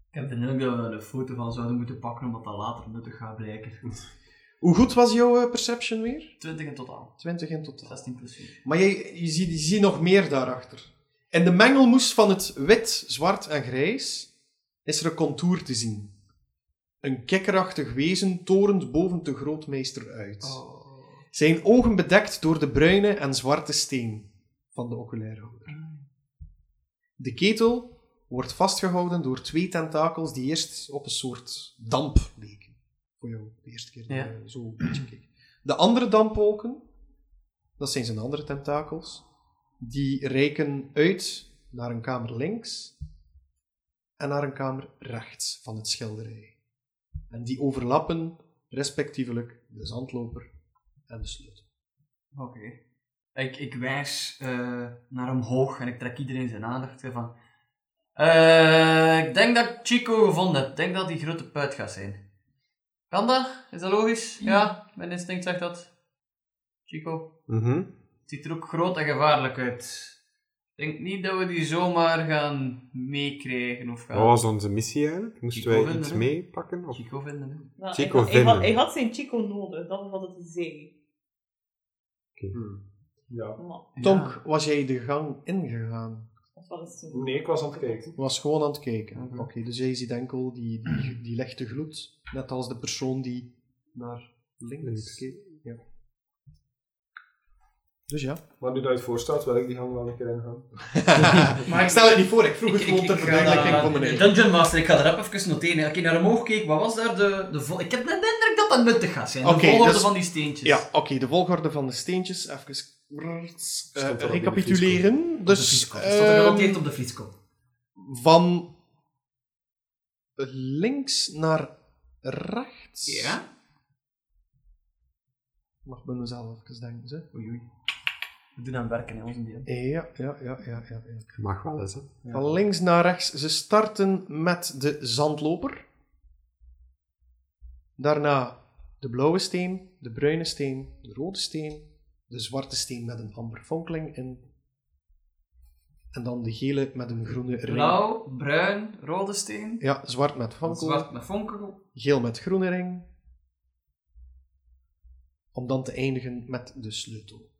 Speaker 6: Ik heb de indruk dat we daar een foto van zouden moeten pakken, omdat dat later nuttig gaat blijken.
Speaker 3: Hoe goed was jouw eh, perception weer?
Speaker 6: 20 in totaal.
Speaker 3: 20 in totaal.
Speaker 6: 16 plus 4.
Speaker 3: Maar jij, je, ziet, je ziet nog meer daarachter. In de mengelmoes van het wit, zwart en grijs is er een contour te zien. Een kikkerachtig wezen torent boven de grootmeester uit.
Speaker 8: Oh.
Speaker 6: Oh.
Speaker 3: Zijn ogen bedekt door de bruine en zwarte steen van de oculairhouder. De ketel wordt vastgehouden door twee tentakels die eerst op een soort damp leken. Voor jou, de eerste keer dat
Speaker 6: Ja.
Speaker 3: je zo een beetje keek. De andere dampwolken, dat zijn zijn andere tentakels, die reiken uit naar een kamer links en naar een kamer rechts van het schilderij. En die overlappen respectievelijk de zandloper en de sleutel.
Speaker 6: Oké. Ik, ik wijs eh, naar omhoog en ik trek iedereen zijn aandacht eh, van... Eh, ik denk dat ik Chico gevonden heb. Ik denk dat die grote puit gaat zijn. Kan dat? Is dat logisch? Ja, mijn instinct zegt dat. Chico.
Speaker 5: Mhm.
Speaker 6: Het ziet er ook groot en gevaarlijk uit. Ik denk niet dat we die zomaar gaan meekrijgen of gaan
Speaker 5: Wat was onze missie eigenlijk? Moesten
Speaker 6: Chico
Speaker 5: wij iets
Speaker 6: vinden, hè?
Speaker 5: meepakken? Of...
Speaker 6: Chico vinden. hè.
Speaker 7: Nou,
Speaker 5: Chico
Speaker 7: ik, had, ik, had,
Speaker 5: vinden.
Speaker 7: ik had zijn Chico nodig, dat was wat het zei.
Speaker 8: Ja.
Speaker 7: Maar,
Speaker 3: Tonk, was jij de gang ingegaan?
Speaker 7: dat was het.
Speaker 8: Nee, ik was aan het kijken.
Speaker 3: Was gewoon aan het kijken. Oké,
Speaker 6: Mhm.
Speaker 3: dus jij ziet enkel die, die, die lichte gloed, net als de persoon die naar links
Speaker 5: Links.
Speaker 3: keek. Ja. Dus ja.
Speaker 8: Maar nu dat je het voorstaat, wil ik die gang wel een keer ingaan.
Speaker 3: Maar ik stel het niet voor, ik vroeg het gewoon ter
Speaker 6: ga
Speaker 3: verduidelijking
Speaker 6: daar- eh,
Speaker 3: van meneer.
Speaker 6: Dungeon Master, ik ga er even even noteren. Als ik naar omhoog keek, wat was daar de... de vol- ik heb de indruk dat dat nuttig gaat zijn. De
Speaker 3: Oké,
Speaker 6: volgorde
Speaker 3: dus-
Speaker 6: van die steentjes.
Speaker 3: Ja, oké, de volgorde van de steentjes, even brrrt, eh,
Speaker 5: er al in de
Speaker 3: recapituleren.
Speaker 6: Op de
Speaker 3: Dus
Speaker 6: fietskop. Het Stond er
Speaker 3: ehm,
Speaker 6: genoteerd op de fietskop.
Speaker 3: van links naar rechts.
Speaker 6: Ja.
Speaker 3: Mag bij mezelf even denken, ze.
Speaker 6: Oei, oei. We doen aan werken in onze deel.
Speaker 3: Ja, ja, ja, ja, ja. ja.
Speaker 5: Mag wel eens, hè.
Speaker 3: Van links naar rechts. Ze starten met de zandloper. Daarna de blauwe steen, de bruine steen, de rode steen, de zwarte steen met een amber fonkeling in. En dan de gele met een groene ring.
Speaker 6: Blauw, bruin, rode steen.
Speaker 3: Ja, zwart met fonkel,
Speaker 6: Zwart met vonkel.
Speaker 3: geel met groene ring. Om dan te eindigen met de sleutel.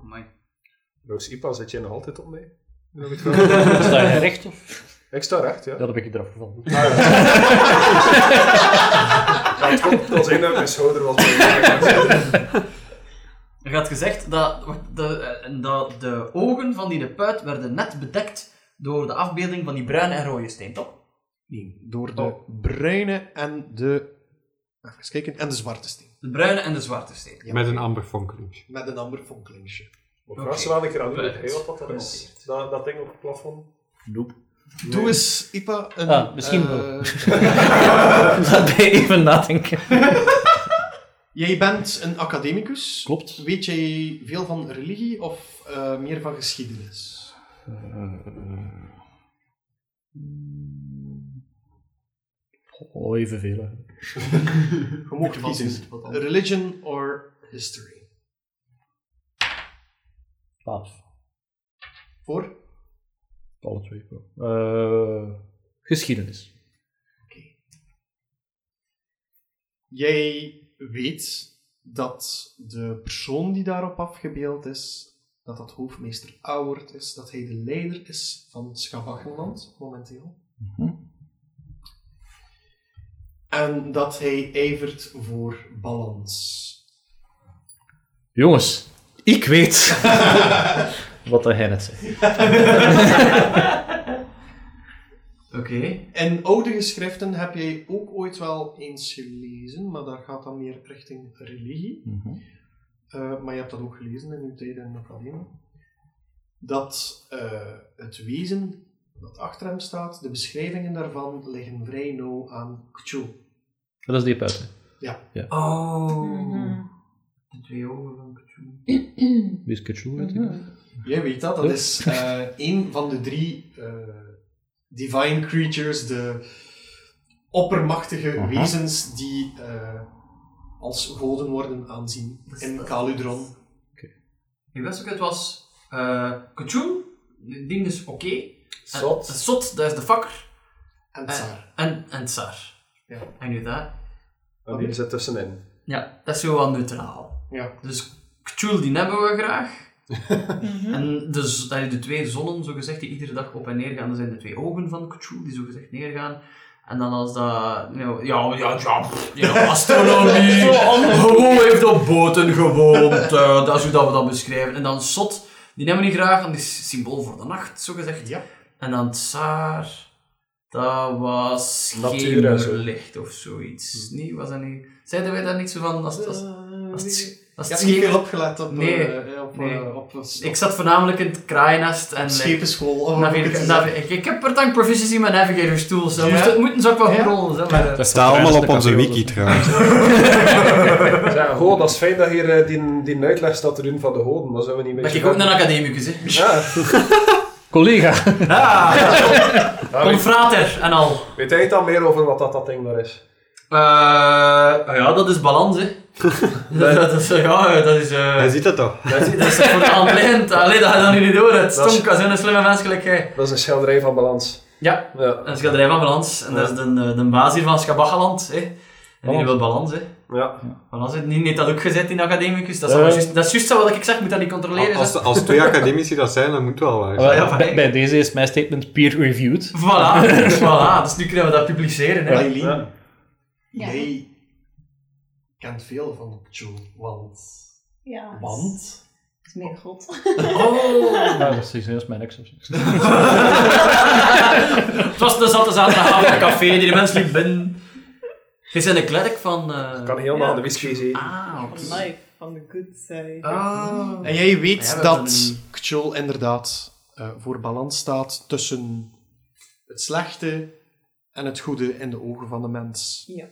Speaker 6: Amai.
Speaker 8: Roos Ipa, zit jij nog altijd op mee?
Speaker 4: Sta je recht of?
Speaker 8: Ik sta recht, ja.
Speaker 4: Ja, dat heb ik eraf gevonden.
Speaker 8: Ja, het komt wel zijn dat mijn schouder was. bij-
Speaker 6: Er gaat gezegd dat de, eh, dat de ogen van die de puit werden net bedekt door de afbeelding van die bruine en rode steen, toch?
Speaker 3: Nee, door de bruine en de... Even kijken. En de zwarte steen.
Speaker 6: De bruine en de zwarte steen.
Speaker 5: Met een amber fonkeling.
Speaker 3: Met een amber fonkelingsje.
Speaker 8: Maar
Speaker 6: Oké.
Speaker 8: Vraag ze wel een keer aan
Speaker 6: Right.
Speaker 8: u, wat dat er is.
Speaker 6: Genoteerd.
Speaker 8: Dat, dat ding op het plafond.
Speaker 3: Doe eens, Ipa, een...
Speaker 4: Ah, misschien
Speaker 3: eh,
Speaker 4: wel. Laat mij even nadenken.
Speaker 3: jij bent een academicus.
Speaker 4: Klopt.
Speaker 3: Weet jij veel van religie of eh, meer van geschiedenis?
Speaker 4: Oh, evenveel. hè.
Speaker 3: Je mag kiezen.
Speaker 6: wat anders.
Speaker 3: Religion or history?
Speaker 4: Twaalf.
Speaker 3: Voor?
Speaker 4: Alle twee. Eh, geschiedenis.
Speaker 3: Jij weet dat de persoon die daarop afgebeeld is, dat dat hoofdmeester Auwert is, dat hij de leider is van Schabachenland momenteel. En dat hij ijvert voor balans.
Speaker 4: Jongens, ik weet wat hij net zei.
Speaker 6: Oké.
Speaker 3: En oude geschriften heb jij ook ooit wel eens gelezen, maar dat gaat dan meer richting religie. Eh, maar je hebt dat ook gelezen in uw tijd in de academie. Dat eh, het wezen dat achter hem staat, de beschrijvingen daarvan liggen vrij nauw aan Cthulhu.
Speaker 4: Dat is die puiten.
Speaker 6: Oh.
Speaker 7: Mhm.
Speaker 6: De twee ogen van Cthulhu.
Speaker 4: Die is Cthulhu, weet ik.
Speaker 7: Mhm.
Speaker 3: Jij weet dat, dat is eh een van de drie eh, divine creatures, de oppermachtige wezens die eh, als goden worden aanzien in Caludron.
Speaker 6: Ik wist ook, het was eh Cthulhu. Het ding is oké. En-
Speaker 8: Zot.
Speaker 6: en Zot, dat is de fakker.
Speaker 3: En
Speaker 6: Eh,
Speaker 3: Tsar.
Speaker 6: En, en Tsar.
Speaker 3: Ja.
Speaker 6: En nu dat.
Speaker 8: En die zit tussenin.
Speaker 6: Ja, dat is zo wel neutraal.
Speaker 3: Ja.
Speaker 6: Dus Cthulhu, die hebben we graag. en de, z- dat je de twee zonnen, zogezegd, die iedere dag op en neer gaan, dat zijn de twee ogen van Cthulhu, die zogezegd neergaan. En dan als dat... nou, ja, ja, ja, pff, ja, astronomie. gewoon heeft op boten gewoond. eh, dat is hoe dat we dat beschrijven. En dan Sot, die nemen we niet graag, want die is symbool voor de nacht, zogezegd.
Speaker 3: Ja.
Speaker 6: En dan Tsar, dat was
Speaker 8: Natuur en zo.
Speaker 6: licht of zoiets. Nee, was dat niet... Zeiden wij daar niet zo van? Als, als,
Speaker 3: Eh,
Speaker 6: als, het- als
Speaker 3: Ik heb
Speaker 6: het
Speaker 3: niet
Speaker 6: schepen-
Speaker 3: veel opgelet op,
Speaker 6: Nee,
Speaker 3: eh, op, eh,
Speaker 6: nee.
Speaker 3: op, op,
Speaker 6: Ik zat voornamelijk in het kraaiennest en...
Speaker 3: op
Speaker 6: eh,
Speaker 3: schepenschool. Oh,
Speaker 6: navigator-
Speaker 3: dit is-
Speaker 6: navi- ik, ik heb per tank proficiency met navigator tools. dus Dat
Speaker 3: Ja?
Speaker 6: moest, het moeten ze ook wel
Speaker 3: Ja?
Speaker 6: goed rollen. Zeg maar.
Speaker 1: Dat staat allemaal op onze wiki trouwens.
Speaker 8: Zeg, goh, dat is fijn dat hier eh, die, die uitleg staat te doen van de hoden, maar zijn we niet mee.
Speaker 6: ben ik ook een academicus, hè.
Speaker 8: Ja,
Speaker 4: Collega.
Speaker 8: ja, weet,
Speaker 6: Confrater en al.
Speaker 8: weet jij het dan meer over wat dat, dat ding daar is?
Speaker 6: Eh, ah ja, dat is balans, hè. dat, dat is, ja, dat is... eh,
Speaker 5: Hij ziet dat toch?
Speaker 6: dat is, dat is voor de hand liggend. Allee, dat gaat dan nu niet door. Het
Speaker 8: Dat is-
Speaker 6: stonk als een slimme mens gelijk jij.
Speaker 8: Dat is een schilderij van balans.
Speaker 6: Ja.
Speaker 8: Ja,
Speaker 6: Een schilderij van balans. En dat is de, eh, de baas hier van Schabacheland, hè. En die wil balans, hè.
Speaker 8: Oh. ja.
Speaker 6: Balans, hè. Die heeft dat ook gezet in academicus. Dat is, allemaal juist- dat is juist zo wat ik zeg. Moet dat niet controleren,
Speaker 5: Als,
Speaker 6: zeg.
Speaker 5: als twee academici dat zijn, dan moet het wel waar zijn.
Speaker 4: Wel,
Speaker 6: ja,
Speaker 4: bij, bij deze is mijn statement peer-reviewed.
Speaker 6: Voilà, dus voilà. Dus nu kunnen we dat publiceren, hè.
Speaker 3: Eileen,
Speaker 8: Ja.
Speaker 3: jij kent veel van Cthulhu, want...
Speaker 9: Ja.
Speaker 3: Want?
Speaker 9: Het is meer god.
Speaker 6: Oh!
Speaker 4: Ja, dat is serieus mijn ex.
Speaker 6: Het was dus de zatte zaterdagavond in een café die de mensen liep binnen. Je bent een klerk van... eh,
Speaker 8: kan helemaal aan de whisky zien.
Speaker 6: Ah,
Speaker 7: Van
Speaker 6: oké.
Speaker 7: life, van the good side.
Speaker 6: Ah.
Speaker 8: Oh.
Speaker 3: En jij
Speaker 6: Ja, we
Speaker 3: weet
Speaker 6: hebben
Speaker 3: dat
Speaker 6: een-
Speaker 3: Cthulhu inderdaad eh, voor balans staat tussen het slechte en het goede in de ogen van de mens.
Speaker 7: Ja.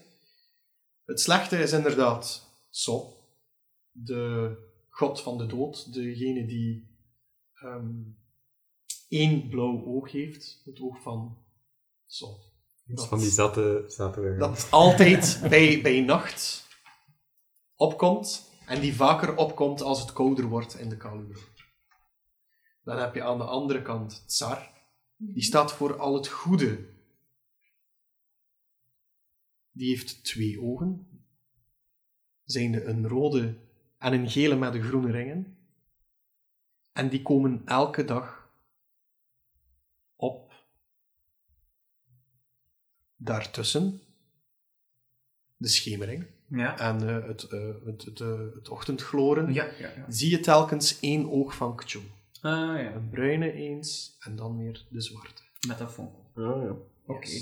Speaker 3: Het slechte is inderdaad Sol, de god van de dood, degene die ehm, één blauw oog heeft, het oog van Sol.
Speaker 5: Dat is van die zatte zaterdag.
Speaker 3: Dat altijd bij, bij nacht opkomt en die vaker opkomt als het kouder wordt in de koude. Dan heb je aan de andere kant Tsar, die staat voor al het goede. Die heeft twee ogen, zijnde een rode en een gele met de groene ringen. En die komen elke dag op daartussen de schemering
Speaker 6: Ja.
Speaker 3: en eh, het, eh, het, het, eh, het ochtendgloren.
Speaker 6: Ja, ja, ja.
Speaker 3: Zie je telkens één oog van Kchul.
Speaker 6: Ah, ja.
Speaker 3: Een bruine eens en dan weer de zwarte.
Speaker 6: Metafoon. Oké.
Speaker 8: Ah, ja.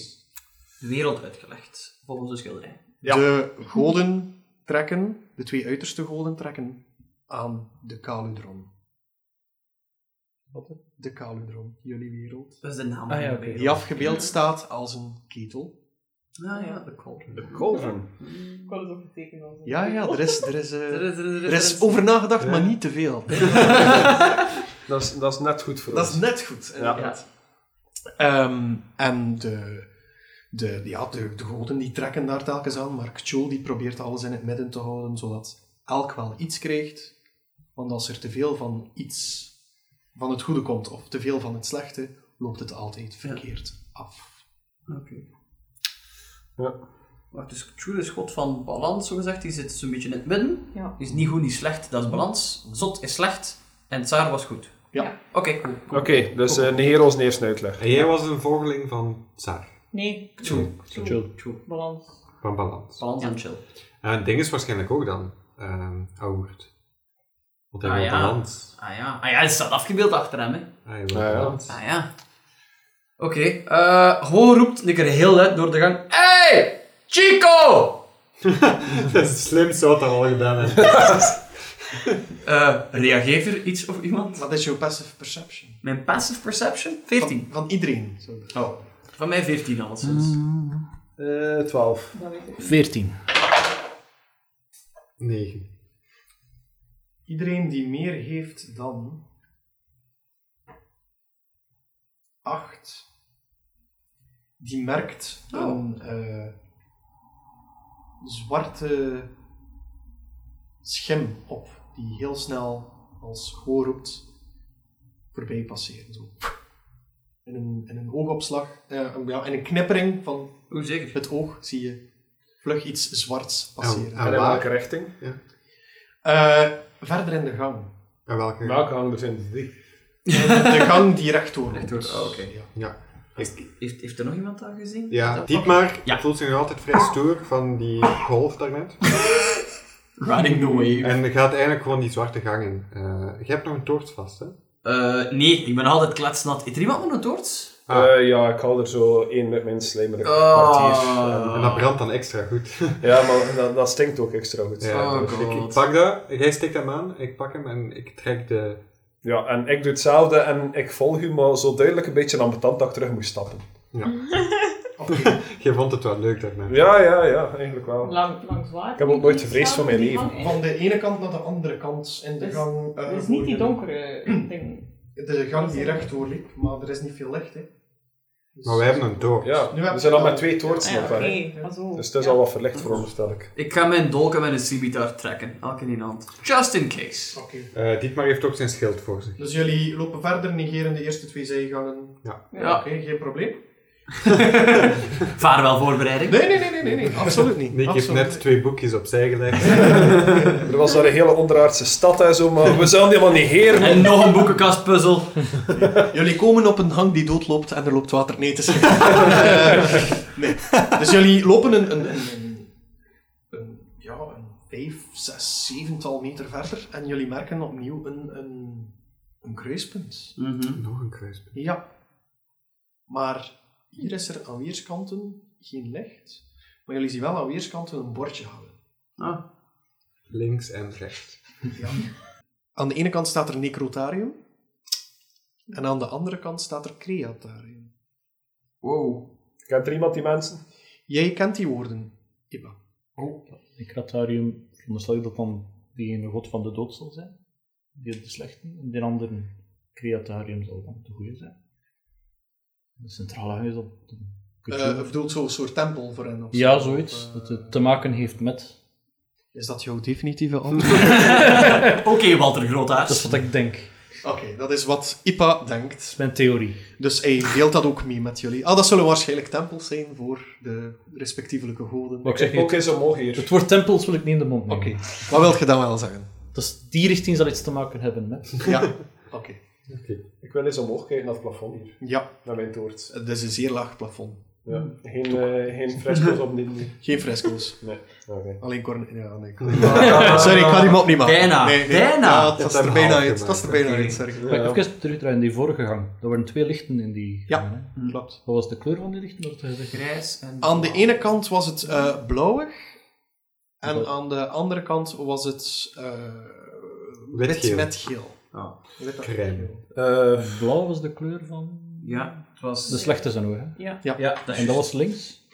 Speaker 6: De wereld uitgelegd, volgens de schilderij.
Speaker 3: De goden trekken, de twee uiterste goden trekken aan de Kaludron. Wat? De Kaludron, jullie wereld.
Speaker 6: Dat is de naam
Speaker 4: Ah, ja,
Speaker 6: van de
Speaker 4: oké.
Speaker 6: wereld.
Speaker 3: Die afgebeeld staat als een ketel.
Speaker 6: Ah ja, de kolder.
Speaker 8: De Colvin.
Speaker 7: Ik had het ook getekend. als een-
Speaker 3: Ja, ja, er is, er is, eh,
Speaker 6: Er is, er is-
Speaker 3: er is over nagedacht, maar niet te veel.
Speaker 8: Dat is, dat is net goed voor
Speaker 3: Dat is
Speaker 8: ons.
Speaker 3: net goed. inderdaad. Ehm, en de, de, ja, de, de goden die trekken daar telkens aan, maar K'Chul die probeert alles in het midden te houden, zodat elk wel iets krijgt. Want als er te veel van iets van het goede komt, of te veel van het slechte, loopt het altijd verkeerd af.
Speaker 6: Oké.
Speaker 8: Ja.
Speaker 6: Maar dus Tjoel is god van balans, zogezegd. Die zit zo'n beetje in het midden.
Speaker 7: Ja.
Speaker 6: Is niet goed, niet slecht, dat is balans. Zot is slecht en Tsar was goed.
Speaker 3: Ja.
Speaker 6: Oké, cool.
Speaker 8: Oké, dus eh negeer ons eerste uitleg.
Speaker 5: En jij was een volgeling van Tsar,
Speaker 7: Nee,
Speaker 6: Tjoel.
Speaker 4: Chill.
Speaker 7: balans.
Speaker 5: van balans.
Speaker 6: Balans en chill.
Speaker 5: En het ding is waarschijnlijk ook dan, ehm Auwert. Want hij
Speaker 6: Ah,
Speaker 5: wil
Speaker 6: ja.
Speaker 5: balans.
Speaker 6: Ah ja, ah ja, het staat afgebeeld achter hem, hè.
Speaker 5: Hij wil
Speaker 8: Ah, ja.
Speaker 5: balans.
Speaker 6: Ah ja. Oké, eh, Ho roept een keer heel luid door de gang. Hey! Chico!
Speaker 5: Dat is het slimste wat hij al gedaan heeft.
Speaker 6: Eh, reageert er iets of iemand?
Speaker 3: Wat is jouw passive perception?
Speaker 6: Mijn passive perception?
Speaker 3: Van-
Speaker 6: 14.
Speaker 3: Van, iedereen. zo.
Speaker 6: Oh, van mij 14 alleszins.
Speaker 8: Eh 12.
Speaker 4: 14.
Speaker 5: Negen.
Speaker 3: Iedereen die meer heeft dan 8, die merkt
Speaker 6: Oh.
Speaker 3: een eh, zwarte schim op, die heel snel als goor roept voorbij passeren. Zo. In, een, in een oogopslag, eh, ja, in een knippering van
Speaker 6: Hoe zeker?
Speaker 3: het oog zie je vlug iets zwarts
Speaker 5: En,
Speaker 3: passeren.
Speaker 5: en
Speaker 8: En in
Speaker 5: waar?
Speaker 8: welke richting?
Speaker 3: Eh, verder in de gang.
Speaker 5: En welke?
Speaker 8: Welke hangt er zijn drie?
Speaker 3: De gang die rechtdoor loopt.
Speaker 6: Rechtdoor, oh, oké.
Speaker 3: Ja.
Speaker 6: Heeft, heeft er nog iemand dat gezien?
Speaker 5: Ja,
Speaker 6: Dat-
Speaker 5: Dietmar
Speaker 6: Ja.
Speaker 5: voelt zich nog altijd vrij stoer van die golf daarnet.
Speaker 6: Riding the wave.
Speaker 5: En gaat eigenlijk gewoon die zwarte gang in. Eh, je hebt nog een toort vast, hè?
Speaker 6: Eh, nee, ik ben altijd kletsnat. Heeft er iemand nog een toorts?
Speaker 5: Ah.
Speaker 8: Eh, ja, ik haal er zo één met mijn slijmerige
Speaker 6: Oh.
Speaker 8: kwartier.
Speaker 5: En dat brandt dan extra goed.
Speaker 8: En- ja, maar dat, dat stinkt ook extra goed.
Speaker 5: Ja.
Speaker 6: Oh
Speaker 8: dus ik-
Speaker 5: Ik
Speaker 6: god.
Speaker 5: pak dat, jij steekt hem aan, ik pak hem en ik trek de...
Speaker 8: ja, en ik doe hetzelfde en ik volg u, maar zo duidelijk een beetje ambetant dat ik terug moest stappen.
Speaker 5: Je vond het wel leuk daarnet.
Speaker 8: Ja, ja, ja, eigenlijk
Speaker 2: Oh.
Speaker 8: wel.
Speaker 7: Lang, langs waar?
Speaker 8: Ik heb ook nooit gevreesd voor mijn leven.
Speaker 3: Van de ene kant naar de andere kant in de
Speaker 7: Dus-
Speaker 3: gang. eh,
Speaker 7: Het is niet die
Speaker 3: voor-
Speaker 7: donkere ding.
Speaker 3: De gang die rechtdoor liep, maar er is niet veel licht. Hè. Dus-
Speaker 5: Maar wij hebben een toort.
Speaker 8: Ja,
Speaker 3: Nu heb
Speaker 8: we
Speaker 3: je
Speaker 8: zijn al
Speaker 3: wel-
Speaker 8: met twee toortsen
Speaker 7: Ah ja,
Speaker 8: nog verder.
Speaker 7: oké. Ah, zo.
Speaker 8: Dus het is
Speaker 7: Ja.
Speaker 8: al wat verlicht, veronderstel ik.
Speaker 6: Ik ga mijn dolk en mijn scimitar trekken. Elk in één hand. Just in case.
Speaker 3: Oké.
Speaker 5: Eh, Dietmar heeft ook zijn schild voor zich.
Speaker 3: Dus jullie lopen verder, negeren de eerste twee zijgangen.
Speaker 6: Ja.
Speaker 3: Oké, geen probleem.
Speaker 6: Vaarwel voorbereiding.
Speaker 3: Nee, nee, nee, nee, nee, nee. absoluut niet.
Speaker 5: Nick heeft
Speaker 3: Absoluut
Speaker 5: net
Speaker 3: niet.
Speaker 5: twee boekjes opzij gelegd.
Speaker 8: Er was daar een hele onderaardse stad en zo, maar we zijn helemaal niet heer.
Speaker 6: En nog een boekenkastpuzzel.
Speaker 3: Jullie komen op een gang die doodloopt en er loopt water. Nee, het is geen- Eh, nee. Dus jullie lopen een, een, een, een, een- ja, een vijf, zes, zevental meter verder en jullie merken opnieuw een, een, een kruispunt.
Speaker 5: Nog een kruispunt.
Speaker 3: Ja. Maar hier is er aan weerskanten geen licht. Maar jullie zien wel aan weerskanten een bordje hangen.
Speaker 8: Ah.
Speaker 5: Links en rechts.
Speaker 3: Aan de ene kant staat er necrotarium. En aan de andere kant staat er creatarium.
Speaker 8: Wow.
Speaker 2: Kent er iemand die mensen?
Speaker 3: Jij kent die woorden, Iba.
Speaker 4: In Kratarium veronderstel ik dat dan die ene god van de dood zal zijn. Die de slechte. En die andere Creatarium zal dan de goede zijn. Het centrale huis op de
Speaker 3: Eh of bedoelt zo'n soort tempel voor hen? Of
Speaker 4: Ja,
Speaker 3: zo,
Speaker 4: zoiets.
Speaker 3: of, eh,
Speaker 4: Dat het te maken heeft met.
Speaker 3: Is dat jouw definitieve antwoord?
Speaker 8: Oké, Walter Grootaars.
Speaker 4: Dat is wat ik denk.
Speaker 3: Oké, dat is wat Ipa denkt.
Speaker 4: Dat is mijn theorie.
Speaker 3: Dus hij deelt dat ook mee met jullie. Ah, dat zullen waarschijnlijk tempels zijn voor de respectievelijke goden.
Speaker 4: Maar ik zeg
Speaker 2: Ook
Speaker 4: niet,
Speaker 2: eens omhoog hier.
Speaker 4: het woord tempels wil ik niet in de mond nemen.
Speaker 3: Oké, wat wil je dan wel zeggen?
Speaker 4: Dus die richting zal iets te maken hebben met.
Speaker 3: Ja, oké.
Speaker 2: Ik wil eens omhoog kijken naar het plafond hier.
Speaker 3: Ja,
Speaker 2: Naar mijn toort.
Speaker 3: het is een zeer laag plafond.
Speaker 2: Ja. Geen, eh, geen fresco's op dit nu.
Speaker 3: Geen fresco's.
Speaker 2: Nee. Oké.
Speaker 3: Alleen corn... Ja, nee. Sorry, ik ga die mop niet maken.
Speaker 8: Bijna,
Speaker 3: Nee, nee.
Speaker 8: bijna.
Speaker 3: Ja, dat is er
Speaker 5: een
Speaker 3: bijna
Speaker 5: half
Speaker 3: uit. Dat is er bijna uit, sorry.
Speaker 4: Maar even terugdraaien in die vorige gang. Er waren twee lichten in die
Speaker 3: Ja.
Speaker 4: gang, hè.
Speaker 3: Klopt.
Speaker 4: Wat was de kleur van die lichten? Dat had je gezegd?
Speaker 8: Grijs en...
Speaker 3: Aan de ene kant was het eh blauwig. En
Speaker 4: Blauw.
Speaker 3: aan de andere kant was het eh wit
Speaker 5: Witgeel.
Speaker 3: met geel.
Speaker 5: Ah.
Speaker 3: Wit en
Speaker 5: Crème.
Speaker 3: geel.
Speaker 2: Eh,
Speaker 4: Blauw was de kleur van.
Speaker 8: Ja, het was...
Speaker 4: De slechte zijn ogen. hè.
Speaker 7: Ja.
Speaker 8: Ja, dat
Speaker 4: En dat was links.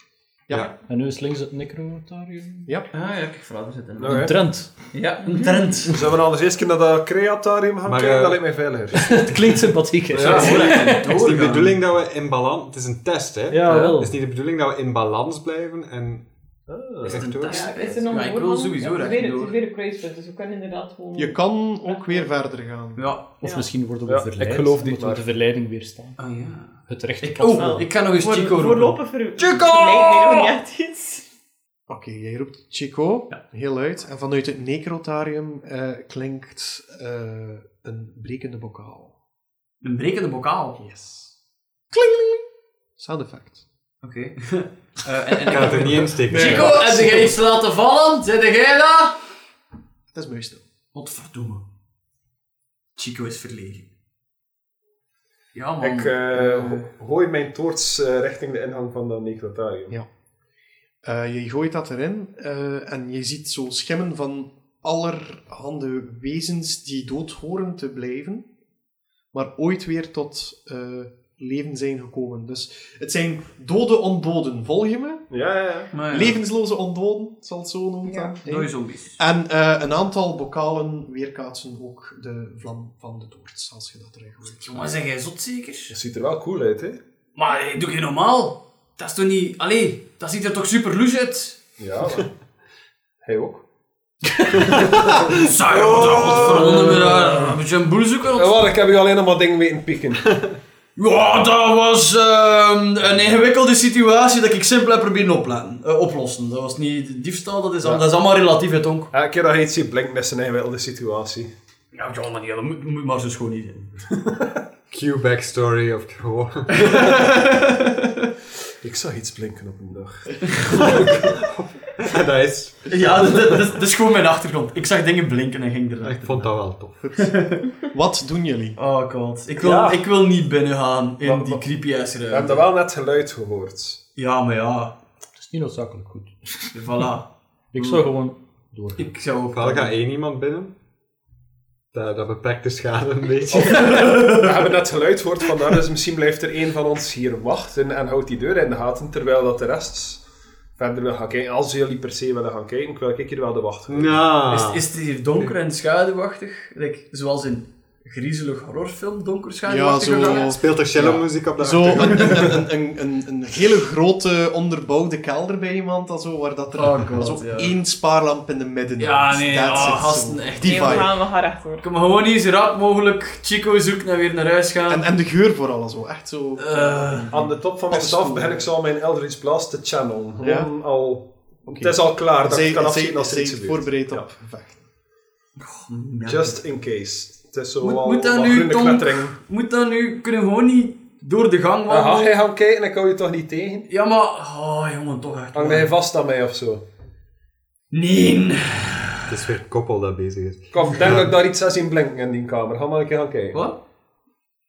Speaker 3: Ja.
Speaker 5: Ja.
Speaker 4: En nu is links het necrotarium.
Speaker 3: Ja.
Speaker 8: Ah ja, kijk, voilà, we zitten.
Speaker 6: Nou,
Speaker 2: Oké.
Speaker 4: Een trend.
Speaker 8: Ja, een trend.
Speaker 2: Zullen we anders eerst naar dat creatarium gaan
Speaker 5: Maar,
Speaker 2: kijken?
Speaker 5: eh,
Speaker 2: dat lijkt mij veiliger.
Speaker 4: Het klinkt sympathiek. hè.
Speaker 2: Ja.
Speaker 5: Het is niet de bedoeling dat we in balans... Het is een test, hè?
Speaker 4: Ja, wel.
Speaker 5: Het is niet de bedoeling dat we in balans blijven en...
Speaker 2: Ah.
Speaker 5: rechtdoor.
Speaker 7: Ja, is er nog
Speaker 8: Ja,
Speaker 7: een
Speaker 8: ik
Speaker 7: woord
Speaker 8: wil
Speaker 7: van?
Speaker 8: sowieso
Speaker 7: Ja, ik weet het,
Speaker 8: rechtdoor.
Speaker 7: Het is weer een kruispunt, dus we kunnen inderdaad gewoon...
Speaker 3: Je kan ook weer verder gaan.
Speaker 8: Ja.
Speaker 4: Of
Speaker 7: Ja.
Speaker 4: misschien worden we
Speaker 2: Ja,
Speaker 4: verleid.
Speaker 2: ik geloof
Speaker 4: Moeten
Speaker 2: dit
Speaker 4: we
Speaker 2: maar.
Speaker 4: de verleiding weerstaan.
Speaker 6: Oh,
Speaker 8: Ah ja.
Speaker 4: Het rechte
Speaker 8: Ik,
Speaker 4: pad
Speaker 8: oh,
Speaker 4: volgen.
Speaker 8: ik kan nog eens
Speaker 7: Voor,
Speaker 8: Chico roepen.
Speaker 7: voorlopig ver...
Speaker 8: Chico!
Speaker 7: vermijden we niet echt iets.
Speaker 3: Oké, jij roept Chico heel luid. En vanuit het necrotarium eh, klinkt eh, een brekende bokaal.
Speaker 8: Een brekende bokaal.
Speaker 3: Yes. Kling! Sound effect.
Speaker 8: Oké. Eh, en- en-
Speaker 5: Ik kan het er niet in steken.
Speaker 8: Chico, heb jij iets laten vallen? Zit jij daar?
Speaker 3: Het is muisstil.
Speaker 8: Godverdomme. Chico is verlegen. Ja, man.
Speaker 2: Ik eh, ho- gooi mijn toorts eh, richting de ingang van dat necrotarium.
Speaker 3: Ja. Eh, je gooit dat erin eh, en je ziet zo schimmen van allerhande wezens die dood horen te blijven, maar ooit weer tot eh, leven zijn gekomen. Dus het zijn dode ondoden, volg je me?
Speaker 2: Ja, ja, ja.
Speaker 8: maar, ja,
Speaker 3: Levensloze ondoden, zal het zo noemen.
Speaker 7: Ja.
Speaker 3: dan. hè?
Speaker 8: Dode zombies.
Speaker 3: En eh, een aantal bokalen weerkaatsen ook de vlam van de toorts, als je dat erin gooit.
Speaker 8: Jongen, zeg jij zot zeker?
Speaker 2: Dat ziet er wel cool uit, hè?
Speaker 8: Maar hey, doe je normaal? Dat is toch niet... Allee, dat ziet er toch super loes uit?
Speaker 2: Ja, maar- Hij ook.
Speaker 8: Zou je wat godverdomme met daar een beetje Oh. een boel zoeken?
Speaker 2: Ja, Eh, wel, ik heb u alleen nog maar dingen weten pikken.
Speaker 8: Ja, dat was ehm, een ingewikkelde situatie dat ik simpel heb proberen oplaten, eh, oplossen. Dat was niet diefstal, dat is, al- dat is allemaal relatief, het onk.
Speaker 2: Elke keer dat je iets ziet, blinkt met zijn ingewikkelde situatie.
Speaker 8: Ja, ja, maar ja, dat moet, moet maar zo schoon niet zijn.
Speaker 5: Q backstory of gewoon...
Speaker 2: Ik zag iets blinken op een dag.
Speaker 5: dat is...
Speaker 8: Ja, dat, dat, dat- dat is gewoon mijn achtergrond. Ik zag dingen blinken en ging erachter.
Speaker 5: Ik vond dat wel tof.
Speaker 3: Wat doen jullie?
Speaker 8: Oh god, ik wil,
Speaker 2: Ja.
Speaker 8: ik wil niet binnengaan in
Speaker 2: Maar-
Speaker 8: die
Speaker 2: maar-
Speaker 8: creepy ass ruimte.
Speaker 2: We hebben dat wel net geluid gehoord.
Speaker 8: Ja, maar ja,
Speaker 4: Het is niet noodzakelijk goed.
Speaker 8: voilà.
Speaker 4: Ik zou gewoon doorgaan.
Speaker 8: Ik zou ook...
Speaker 5: Wel gaat één iemand binnen. Dat, dat beperkt de schade een beetje.
Speaker 2: We hebben net geluid gehoord, vandaar dus misschien blijft er een van ons hier wachten en houdt die deur in de gaten, terwijl dat de rest verder wil gaan kijken. Als jullie per se willen gaan kijken, wil ik hier wel de wacht houden.
Speaker 5: Nou.
Speaker 6: Ah.
Speaker 8: Is, is het hier donker en schaduwachtig? Like, zoals in griezelig horrorfilm donker schaduwachtig?
Speaker 3: Ja, zo-
Speaker 8: gegaan is?
Speaker 5: Speelt er cello-muziek op de
Speaker 3: Zo
Speaker 5: achtergrond?
Speaker 3: een, een, een, een, een, een hele grote onderbouwde kelder bij iemand, al zo, waar dat er
Speaker 8: Oh god,
Speaker 3: alsof
Speaker 8: ja.
Speaker 3: één spaarlamp in de midden
Speaker 8: Ja,
Speaker 3: hangt.
Speaker 8: nee,
Speaker 3: That's
Speaker 8: oh,
Speaker 3: it, zo.
Speaker 8: gasten, echt
Speaker 3: Die
Speaker 7: Nee, we
Speaker 3: vibe.
Speaker 7: gaan, we gaan rechtdoor.
Speaker 8: Kom gewoon niet zo rap mogelijk Chico zoeken en weer naar huis gaan.
Speaker 3: En, en de geur vooral, al zo, echt zo.
Speaker 8: Eh,
Speaker 2: Aan de top van mijn
Speaker 3: Echt
Speaker 2: staf
Speaker 3: cool,
Speaker 2: begin
Speaker 3: ja.
Speaker 2: ik zo al mijn Eldritch Blast te channelen.
Speaker 3: Ja.
Speaker 2: Gewoon al... Het is al klaar dat
Speaker 3: zij
Speaker 2: ik kan
Speaker 3: zij,
Speaker 2: afzien als er
Speaker 3: zij
Speaker 2: iets
Speaker 3: is
Speaker 2: gebeurt.
Speaker 3: voorbereid
Speaker 2: Ja.
Speaker 3: op vechten.
Speaker 8: ja.
Speaker 2: Just in case. Het is zo
Speaker 8: Moet-
Speaker 2: al
Speaker 8: moet dat
Speaker 2: wat
Speaker 8: nu,
Speaker 2: groene
Speaker 8: Tom?
Speaker 2: klettering.
Speaker 8: Moet dan nu... Kunnen we gewoon niet door de gang
Speaker 2: Ah, ga
Speaker 8: wandelen?
Speaker 2: jij gaan kijken? Ik hou je toch niet tegen?
Speaker 8: Ja, maar... Oh, jongen, toch echt.
Speaker 2: Hang
Speaker 8: man.
Speaker 2: jij vast aan mij of zo?
Speaker 8: Nee.
Speaker 5: Het is weer koppel dat bezig is.
Speaker 8: Kom, denk dat ik daar iets aan zien blinken in die kamer. Ga maar een keer gaan kijken.
Speaker 6: Wat?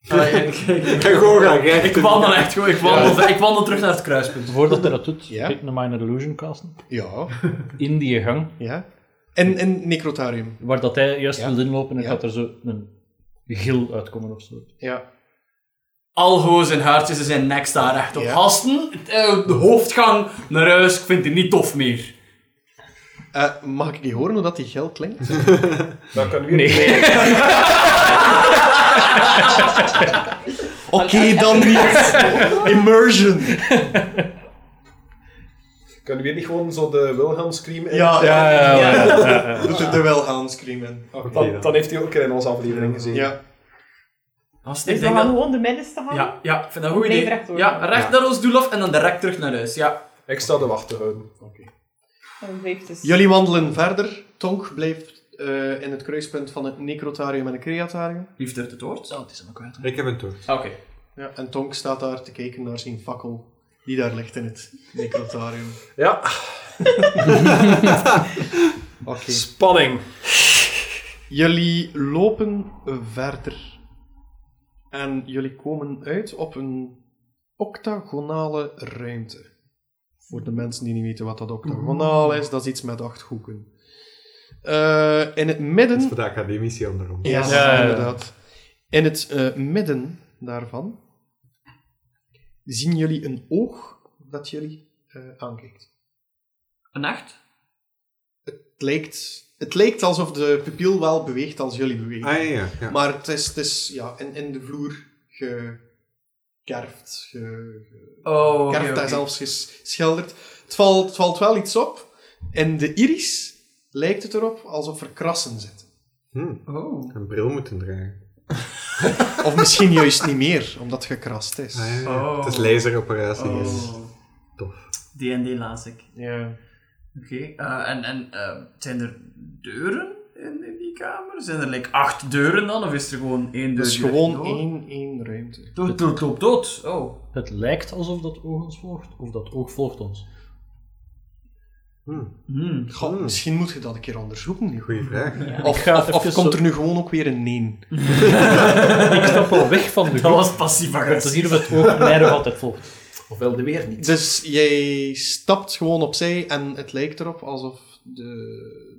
Speaker 6: Ah, ik, ik, ik,
Speaker 5: Gewoon gaan
Speaker 6: ik wandel echt gewoon, ik wandel, ik wandel terug naar het kruispunt.
Speaker 4: Voordat hij dat doet,
Speaker 3: Ja.
Speaker 4: kijk naar Minor Illusion casten.
Speaker 3: Ja,
Speaker 4: In die gang,
Speaker 3: ja. En, en Necrotarium.
Speaker 4: waar dat hij juist
Speaker 3: Ja.
Speaker 4: wilde inlopen en
Speaker 3: Ja.
Speaker 4: gaat er zo een gil uitkomen of zo.
Speaker 3: Ja.
Speaker 6: Algo's en haartjes en zijn nek staan recht op.
Speaker 3: Ja.
Speaker 6: Gasten, eh, de hoofdgang naar huis, ik vind die niet tof meer.
Speaker 3: Eh, mag ik niet horen hoe dat die gel klinkt?
Speaker 8: Dat kan weer niet.
Speaker 3: Oké, dan niet. Immersion.
Speaker 8: Kunnen we niet gewoon zo de Wilhelm scream in?
Speaker 3: Ja, ja, ja.
Speaker 6: ja.
Speaker 3: Dat er wel aan screamen.
Speaker 8: Dan, dan heeft hij ook in onze aflevering gezien.
Speaker 3: Ja.
Speaker 6: Gasten,
Speaker 7: Dus
Speaker 6: ik
Speaker 7: we
Speaker 6: denk
Speaker 7: gaan
Speaker 6: dat...
Speaker 7: gewoon de middenste halen?
Speaker 6: Ja, ja, ik vind dat een goed
Speaker 7: Nee,
Speaker 6: idee.
Speaker 7: recht door.
Speaker 6: ja, recht naar ons doel af en dan direct terug naar huis. Ja.
Speaker 8: Ik sta de wacht te houden.
Speaker 7: Dan blijft dus...
Speaker 3: Jullie wandelen verder. Tonk blijft eh, in het kruispunt van het Necrotarium en het Creatarium.
Speaker 6: Lief durft het woord. Oh, het is helemaal kwijt.
Speaker 5: Ik heb een tocht.
Speaker 6: Oké.
Speaker 3: Ja, en Tonk staat daar te kijken naar zijn fakkel die daar ligt in het Necrotarium.
Speaker 8: Ja,
Speaker 3: Oké.
Speaker 8: spanning.
Speaker 3: Jullie lopen verder. En jullie komen uit op een octagonale ruimte. Voor de mensen die niet weten wat dat octagonaal is, dat is iets met acht hoeken. Eh, in het
Speaker 5: Dat is
Speaker 3: midden
Speaker 5: voor de academici onderom.
Speaker 3: Ja,
Speaker 4: Ja, ja, ja.
Speaker 3: inderdaad. In het eh, midden daarvan zien jullie een oog dat jullie eh, aankijkt.
Speaker 6: Een nacht?
Speaker 3: Het lijkt, het lijkt alsof de pupil wel beweegt als jullie bewegen.
Speaker 5: Ah ja, ja. ja.
Speaker 3: Maar het is, het is ja, in, in de vloer gekerfd, ge,
Speaker 6: Oh, oké,
Speaker 3: kerft daar
Speaker 6: oké.
Speaker 3: zelfs geschilderd. Het valt, het valt wel iets op. In de iris lijkt het erop alsof er krassen zitten.
Speaker 5: Hm,
Speaker 6: Oh.
Speaker 5: een bril moeten dragen.
Speaker 3: Of misschien juist niet meer, omdat het gekrast is.
Speaker 5: Ah, ja, ja.
Speaker 6: Oh.
Speaker 5: Het is laseroperatie. dus is
Speaker 6: Oh.
Speaker 5: tof.
Speaker 6: D&D laat ik.
Speaker 3: Ja.
Speaker 6: Oké, eh, en, en eh, zijn er deuren in, in die kamer? Zijn er like, acht deuren dan, of is er gewoon één deur?
Speaker 3: Dus
Speaker 6: direct
Speaker 3: gewoon
Speaker 6: door?
Speaker 3: één, één ruimte.
Speaker 6: Dood, dood, dood, dood. Oh.
Speaker 4: Het lijkt alsof dat oog ons volgt, of dat oog volgt ons.
Speaker 5: Hm,
Speaker 6: Hmm.
Speaker 3: Goh,
Speaker 5: Hmm.
Speaker 3: Misschien moet je dat een keer onderzoeken. nu.
Speaker 5: goeie vraag.
Speaker 3: Of,
Speaker 4: ga
Speaker 3: of, of
Speaker 4: even
Speaker 3: komt
Speaker 4: zo-
Speaker 3: er nu gewoon ook weer een nee?
Speaker 4: Ik stap al weg van de
Speaker 6: Dat
Speaker 4: groep,
Speaker 6: was passief
Speaker 4: om te zien
Speaker 6: agressief.
Speaker 4: of het oog mij nog altijd volgt.
Speaker 6: Of wilde weer niet.
Speaker 3: Dus jij stapt gewoon opzij en het lijkt erop alsof de,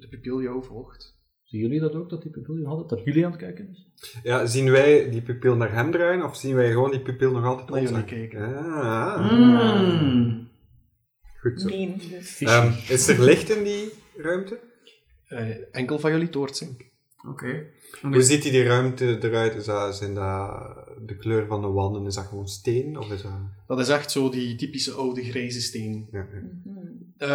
Speaker 3: de pupil jou volgt.
Speaker 4: Zien jullie dat ook, dat die pavilion hadden? Dat jullie aan het kijken is?
Speaker 5: Ja, zien wij die pupil naar hem draaien of zien wij gewoon die pupil nog altijd
Speaker 3: Naar
Speaker 5: ons
Speaker 3: jullie
Speaker 5: aan-
Speaker 3: kijken.
Speaker 5: Ah,
Speaker 6: Hmm.
Speaker 5: goed zo.
Speaker 7: Nee, dus.
Speaker 5: Ehm, is er licht in die ruimte?
Speaker 3: Eh, enkel van jullie doortzink.
Speaker 6: Oké.
Speaker 5: Hoe ziet die, die ruimte eruit? Is dat, zijn dat de kleur van de wanden? Is dat gewoon steen? Of is dat...
Speaker 3: Dat is echt zo die typische oude grijze steen.
Speaker 5: Ja, ja.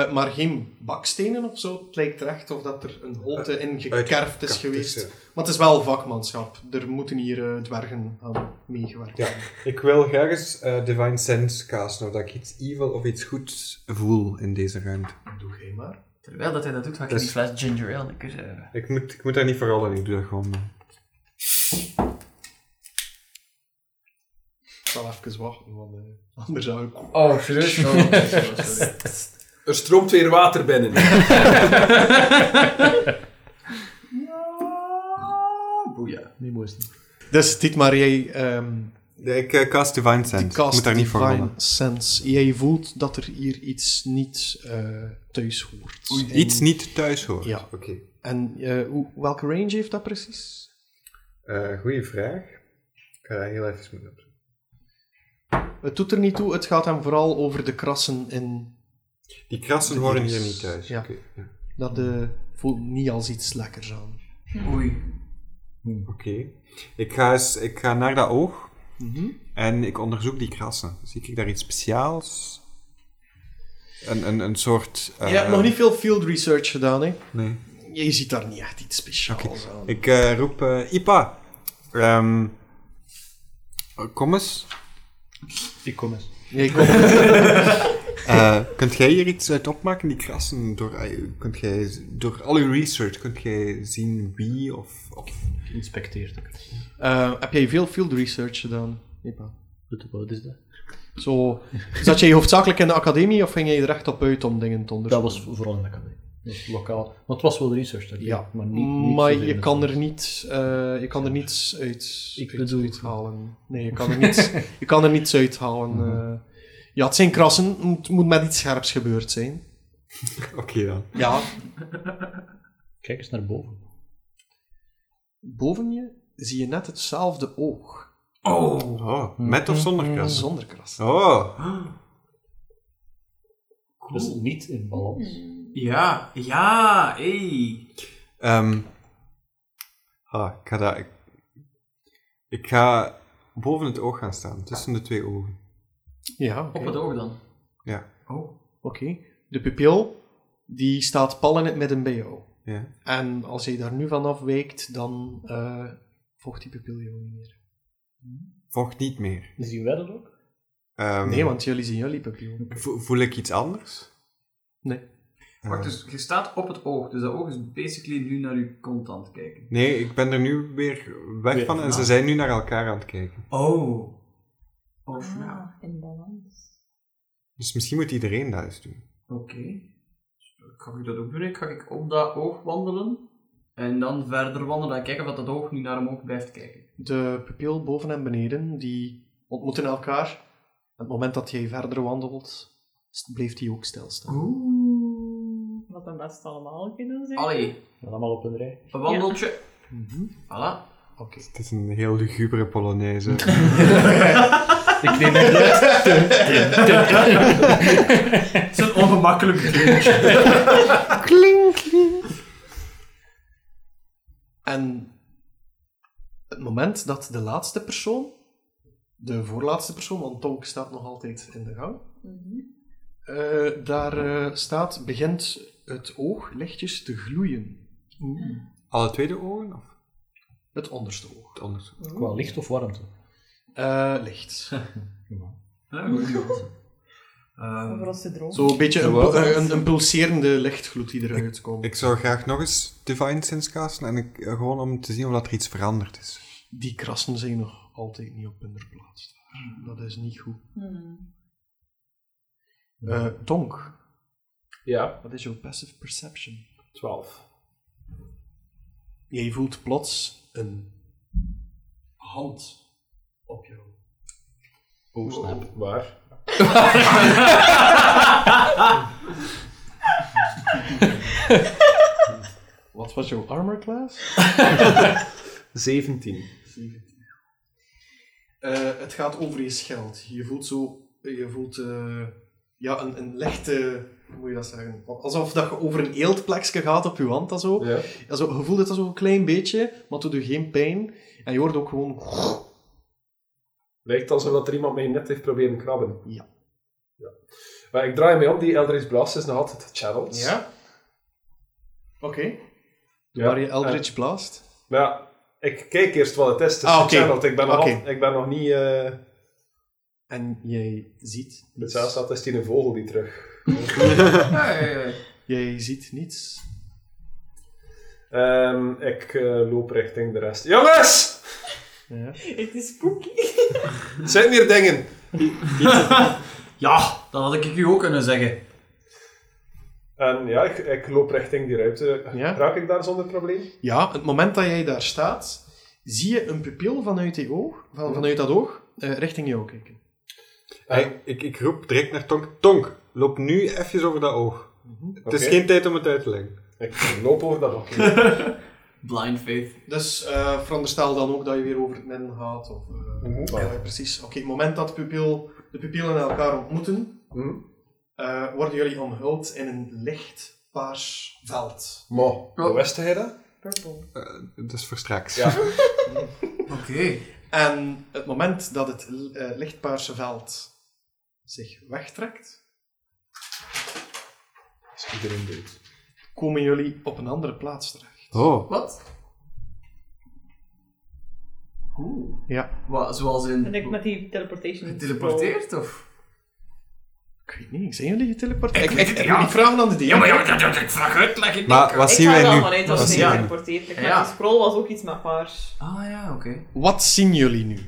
Speaker 3: Eh, maar geen bakstenen of zo. Het lijkt er echt of dat er een holte in Eh, gekerfd is
Speaker 5: Cactus,
Speaker 3: geweest.
Speaker 5: ja.
Speaker 3: Maar het is wel vakmanschap. Er moeten hier eh, dwergen aan meegewerkt
Speaker 5: Ja. Ik wil graag eens eh, Divine Sense casten, of dat ik iets evil of iets goeds voel in deze ruimte.
Speaker 3: Doe geen maar.
Speaker 6: Terwijl dat hij dat doet, ga ik
Speaker 5: Dus-
Speaker 6: die fles ginger ale lekker... eh,
Speaker 5: Ik moet, ik moet daar niet voor rollen, ik doe dat gewoon.
Speaker 3: Ik zal even wachten, want eh, anders zou ik...
Speaker 6: Oh, serieus? Oh, oké, sorry, sorry.
Speaker 8: Er stroomt weer water binnen.
Speaker 6: Boeia.
Speaker 4: Niet mooi is het.
Speaker 3: Dus Dietmar, jij ehm
Speaker 5: Ja, ik eh, cast Divine Sense. ik moet
Speaker 3: cast
Speaker 5: daar niet voor
Speaker 3: Divine
Speaker 5: rollen.
Speaker 3: Sense. Jij voelt dat er hier iets niet eh, thuis hoort. En-
Speaker 5: Iets niet thuis hoort.
Speaker 3: Ja.
Speaker 5: Oké.
Speaker 3: En eh, hoe, welke range heeft dat precies?
Speaker 5: Eh, goeie vraag. Ik ga daar heel even mee op.
Speaker 3: Het doet er niet toe, het gaat hem vooral over de krassen in...
Speaker 5: Die krassen
Speaker 3: De
Speaker 5: horen
Speaker 3: iris.
Speaker 5: hier niet thuis.
Speaker 3: Ja.
Speaker 5: Oké. ja.
Speaker 3: Dat eh, voelt niet als iets lekkers aan.
Speaker 6: Oei.
Speaker 5: Oké. Ik, ga eens- ik ga naar dat oog
Speaker 3: Mhm.
Speaker 5: en ik onderzoek die krassen. Zie ik daar iets speciaals? Een, een, een soort... eh,
Speaker 3: Je hebt nog niet veel field research gedaan, hè?
Speaker 5: Nee.
Speaker 3: Je ziet daar niet echt iets speciaals aan.
Speaker 5: Ik eh, roep eh, Ipa. Ehm, kom eens.
Speaker 4: Ik kom eens.
Speaker 3: Jij komt-
Speaker 5: Eh, kunt jij hier iets uit opmaken? Die krassen, door, eh, kunt jij, door al uw research, kunt jij zien wie of... of...
Speaker 4: Inspecteert ik.
Speaker 3: Eh, heb jij veel field research gedaan, Ipa?
Speaker 4: Doet wat is dat?
Speaker 3: Zo, zat jij hoofdzakelijk in de academie of ging jij er echt op uit om dingen te
Speaker 4: Dat
Speaker 3: onderzoeken?
Speaker 4: was vooral in de academie. Dus lokaal. Want het was wel research, dat
Speaker 3: Ja.
Speaker 4: maar niet, niet
Speaker 3: maar
Speaker 4: zoveel
Speaker 3: je
Speaker 4: in
Speaker 3: kan,
Speaker 4: het-
Speaker 3: er niet, eh, je kan er niets uit,
Speaker 4: Ik
Speaker 3: uit,
Speaker 4: bedoel-
Speaker 3: uit halen. Nee, je kan er niets, je kan er niets uit halen.
Speaker 4: Mhm.
Speaker 3: eh. ja, het zijn krassen. Het moet met iets scherps gebeurd zijn.
Speaker 5: Oké dan.
Speaker 3: Ja,
Speaker 4: Kijk eens naar boven.
Speaker 3: boven je zie je net hetzelfde oog.
Speaker 5: Oh, met of
Speaker 3: mm,
Speaker 5: zonder kras?
Speaker 3: Zonder kras.
Speaker 5: Oh,
Speaker 4: Dus niet in balans.
Speaker 6: Ja, ja, hey.
Speaker 5: ehm ah, ik ga daar... Ik, ik ga boven het oog gaan staan, tussen de twee ogen.
Speaker 3: Ja, oké.
Speaker 6: Op het oog dan.
Speaker 5: Ja.
Speaker 6: Oh.
Speaker 3: Oké. De pupil, die staat pal in het midden bij jou.
Speaker 5: Ja.
Speaker 3: En als je daar nu van afwijkt, dan eh volgt die pupil jou niet meer.
Speaker 5: Vocht niet meer.
Speaker 4: Zien wij dat ook?
Speaker 5: Ehm,
Speaker 3: Nee, want jullie zien jullie pupil.
Speaker 5: vo- voel ik iets anders?
Speaker 3: Nee.
Speaker 6: Wacht,
Speaker 5: Eh,
Speaker 6: dus je staat op het oog. Dus dat oog is basically nu naar je kont aan het kijken.
Speaker 5: Nee, ik ben er nu weer weg
Speaker 4: Weer
Speaker 5: van en ze
Speaker 6: vanaf.
Speaker 5: zijn nu naar elkaar aan het kijken.
Speaker 6: Oh. Oh, ja.
Speaker 9: Ah, in balans.
Speaker 5: Dus misschien moet iedereen dat eens doen.
Speaker 6: Oké. Ga ik dat ook doen? Ik Ga ik op dat oog wandelen? En dan verder wandelen en kijken of dat oog nu naar omhoog blijft kijken.
Speaker 3: De pupil boven en beneden, die ontmoeten elkaar. Op het moment dat jij verder wandelt, st- blijft die ook stilstaan.
Speaker 6: Oh. Oeh.
Speaker 7: Wat dan best allemaal kunnen zijn.
Speaker 6: Allee,
Speaker 4: En allemaal op een rij.
Speaker 6: een wandeltje.
Speaker 3: Mhm.
Speaker 6: Voilà.
Speaker 3: Oké.
Speaker 5: Het is een heel lugubere Polonaise.
Speaker 4: Ik neem echt uit.
Speaker 6: Het is een ongemakkelijk dingetje.
Speaker 3: En het moment dat de laatste persoon, de voorlaatste persoon, want Tonk staat nog altijd in de gang, eh, daar eh, staat, begint het oog lichtjes te gloeien.
Speaker 5: Alle twee de ogen? Of
Speaker 3: Het onderste oog.
Speaker 5: het anders?
Speaker 4: Qua licht of warmte.
Speaker 3: Eh, licht.
Speaker 6: Ja, goed, goed.
Speaker 9: Overal
Speaker 6: Ehm,
Speaker 9: als de droom.
Speaker 3: Zo een beetje een,
Speaker 5: Wat?
Speaker 3: pu- eh, een, een pulserende lichtgloed die eruit komt.
Speaker 5: Ik zou graag nog eens Divine Sense casten en ik, eh, gewoon om te zien of dat er iets veranderd is.
Speaker 3: Die krassen zijn nog altijd niet op hun plaats. Dat is niet goed.
Speaker 9: Hmm.
Speaker 3: Eh Tonk,
Speaker 8: Ja,
Speaker 3: wat is jouw passive perception?
Speaker 8: 12.
Speaker 3: Jij voelt plots een hand op jou.
Speaker 5: Oh, snap.
Speaker 8: Waar?
Speaker 3: Wat was jouw armor class?
Speaker 8: 17.
Speaker 3: Eh, het gaat over je scheld. Je voelt zo, je voelt eh, ja, een, een lichte, hoe moet je dat zeggen? Alsof dat je over een eeltplekje gaat op je hand. Dat zo.
Speaker 8: Ja.
Speaker 3: Ja, zo, je voelt het dat zo een klein beetje, maar het doet je geen pijn. En je hoort ook gewoon...
Speaker 8: Lijkt alsof dat er iemand mij net heeft proberen krabben.
Speaker 3: Ja.
Speaker 8: Ja. Maar ik draai mij om, die Eldritch Blast is nog altijd Channels.
Speaker 3: Oké.
Speaker 8: Ja.
Speaker 3: Waar je Eldritch Blast?
Speaker 8: Eh, maar ja, ik kijk eerst wat het is. Het is
Speaker 3: Ah, oké.
Speaker 8: gechanneld. Ik ben nog,
Speaker 3: Oké.
Speaker 8: altijd- ik ben nog niet... eh
Speaker 3: En jij ziet
Speaker 8: met
Speaker 3: niets.
Speaker 8: zelfs is die een vogel die terug.
Speaker 6: ja, ja, ja.
Speaker 3: Jij ziet niets.
Speaker 8: Ehm, ik eh, loop richting de rest. Jongens!
Speaker 3: Ja.
Speaker 9: Het is spooky.
Speaker 8: Zijn hier dingen?
Speaker 6: Ja, dat had ik u ook kunnen zeggen.
Speaker 8: En ja, ik, ik loop richting die ruimte.
Speaker 3: Ja.
Speaker 8: Raak ik daar zonder probleem?
Speaker 3: Ja, het moment dat jij daar staat, zie je een pupil vanuit, die oog, van, vanuit dat oog eh, richting jou kijken.
Speaker 5: Hey, ik, ik roep direct naar Tonk. Tonk, loop nu even over dat oog. Het is
Speaker 8: Oké.
Speaker 5: geen tijd om het uit te leggen.
Speaker 8: Ik loop over dat hokje.
Speaker 6: Blind faith.
Speaker 3: Dus eh, veronderstel dan ook dat je weer over het midden gaat. Of, eh,
Speaker 8: Mhm.
Speaker 3: ja, ja, precies. Oké, het moment dat de pupil, de pupillen elkaar ontmoeten,
Speaker 8: Mhm.
Speaker 3: eh, worden jullie omhuld in een licht paars veld.
Speaker 8: Maar, hoe wist hij dat?
Speaker 9: Purple.
Speaker 5: Dat is voor straks.
Speaker 8: Ja.
Speaker 6: Oké.
Speaker 3: En het moment dat het eh, lichtpaarse veld zich wegtrekt,
Speaker 8: Als iedereen doet.
Speaker 3: komen jullie op een andere plaats terecht.
Speaker 5: Oh,
Speaker 6: Wat? Oeh.
Speaker 3: Ja.
Speaker 6: Wat, zoals in...
Speaker 7: En ik met die teleportation.
Speaker 6: Geteleporteerd, of?
Speaker 3: Ik weet niet, zijn jullie geteleporteerd?
Speaker 6: Ik
Speaker 3: Ik,
Speaker 6: weet
Speaker 3: ik,
Speaker 6: het
Speaker 3: ik
Speaker 6: niet,
Speaker 3: moet
Speaker 6: ja.
Speaker 3: niet vragen aan de DM.
Speaker 6: ja, dat ik vraag uitleg. Ik
Speaker 5: maar wat
Speaker 7: Ik
Speaker 5: zien
Speaker 7: ga er
Speaker 5: wij
Speaker 7: al
Speaker 5: nu?
Speaker 7: vanuit dat
Speaker 5: Wat
Speaker 7: ze
Speaker 5: zien
Speaker 7: niet
Speaker 5: wij nu?
Speaker 7: geteleporteerd. Ik
Speaker 6: Ja.
Speaker 7: ja. De scroll was ook iets met paars.
Speaker 6: Ah ja, oké.
Speaker 3: Wat zien jullie nu?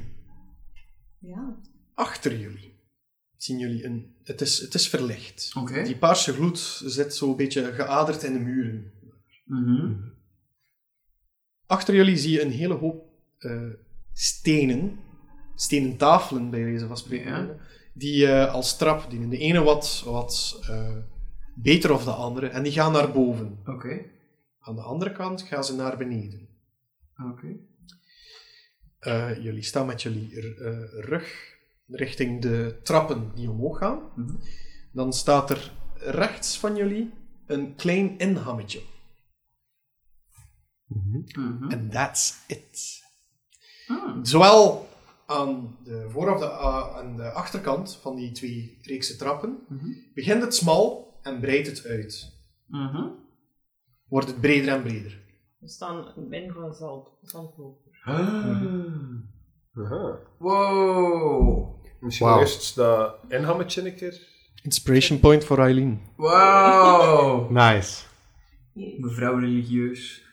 Speaker 9: Ja.
Speaker 3: Achter jullie zien jullie een... Het is, het is verlicht.
Speaker 6: Oké.
Speaker 3: Die paarse gloed zit zo'n beetje geaderd in de muren.
Speaker 6: Mhm.
Speaker 3: Achter jullie zie je een hele hoop eh, stenen, stenen tafelen bij wijze van spreken,
Speaker 6: Ja.
Speaker 3: die eh, als trap dienen. De ene wat, wat eh, beter of de andere, en die gaan naar boven.
Speaker 6: Oké.
Speaker 3: Aan de andere kant gaan ze naar beneden.
Speaker 6: Oké.
Speaker 3: Eh, jullie staan met jullie r- eh, rug richting de trappen die omhoog gaan.
Speaker 6: Mhm.
Speaker 3: Dan staat er rechts van jullie een klein inhammetje.
Speaker 6: Mhm.
Speaker 3: En that's it.
Speaker 6: Ah.
Speaker 3: Zowel aan de voor- of de, a- aan de achterkant van die twee reekse trappen
Speaker 6: Mhm.
Speaker 3: begint het smal en breidt het uit.
Speaker 6: Mhm.
Speaker 3: Wordt het breder en breder.
Speaker 7: We staan binnen van zand, zandloop.
Speaker 5: Aha.
Speaker 6: Wow.
Speaker 5: Misschien
Speaker 10: Wauw.
Speaker 5: eerst dat inhammetje een keer.
Speaker 3: Inspiration point voor Eileen.
Speaker 6: Wow.
Speaker 1: Nice.
Speaker 6: Mevrouw religieus.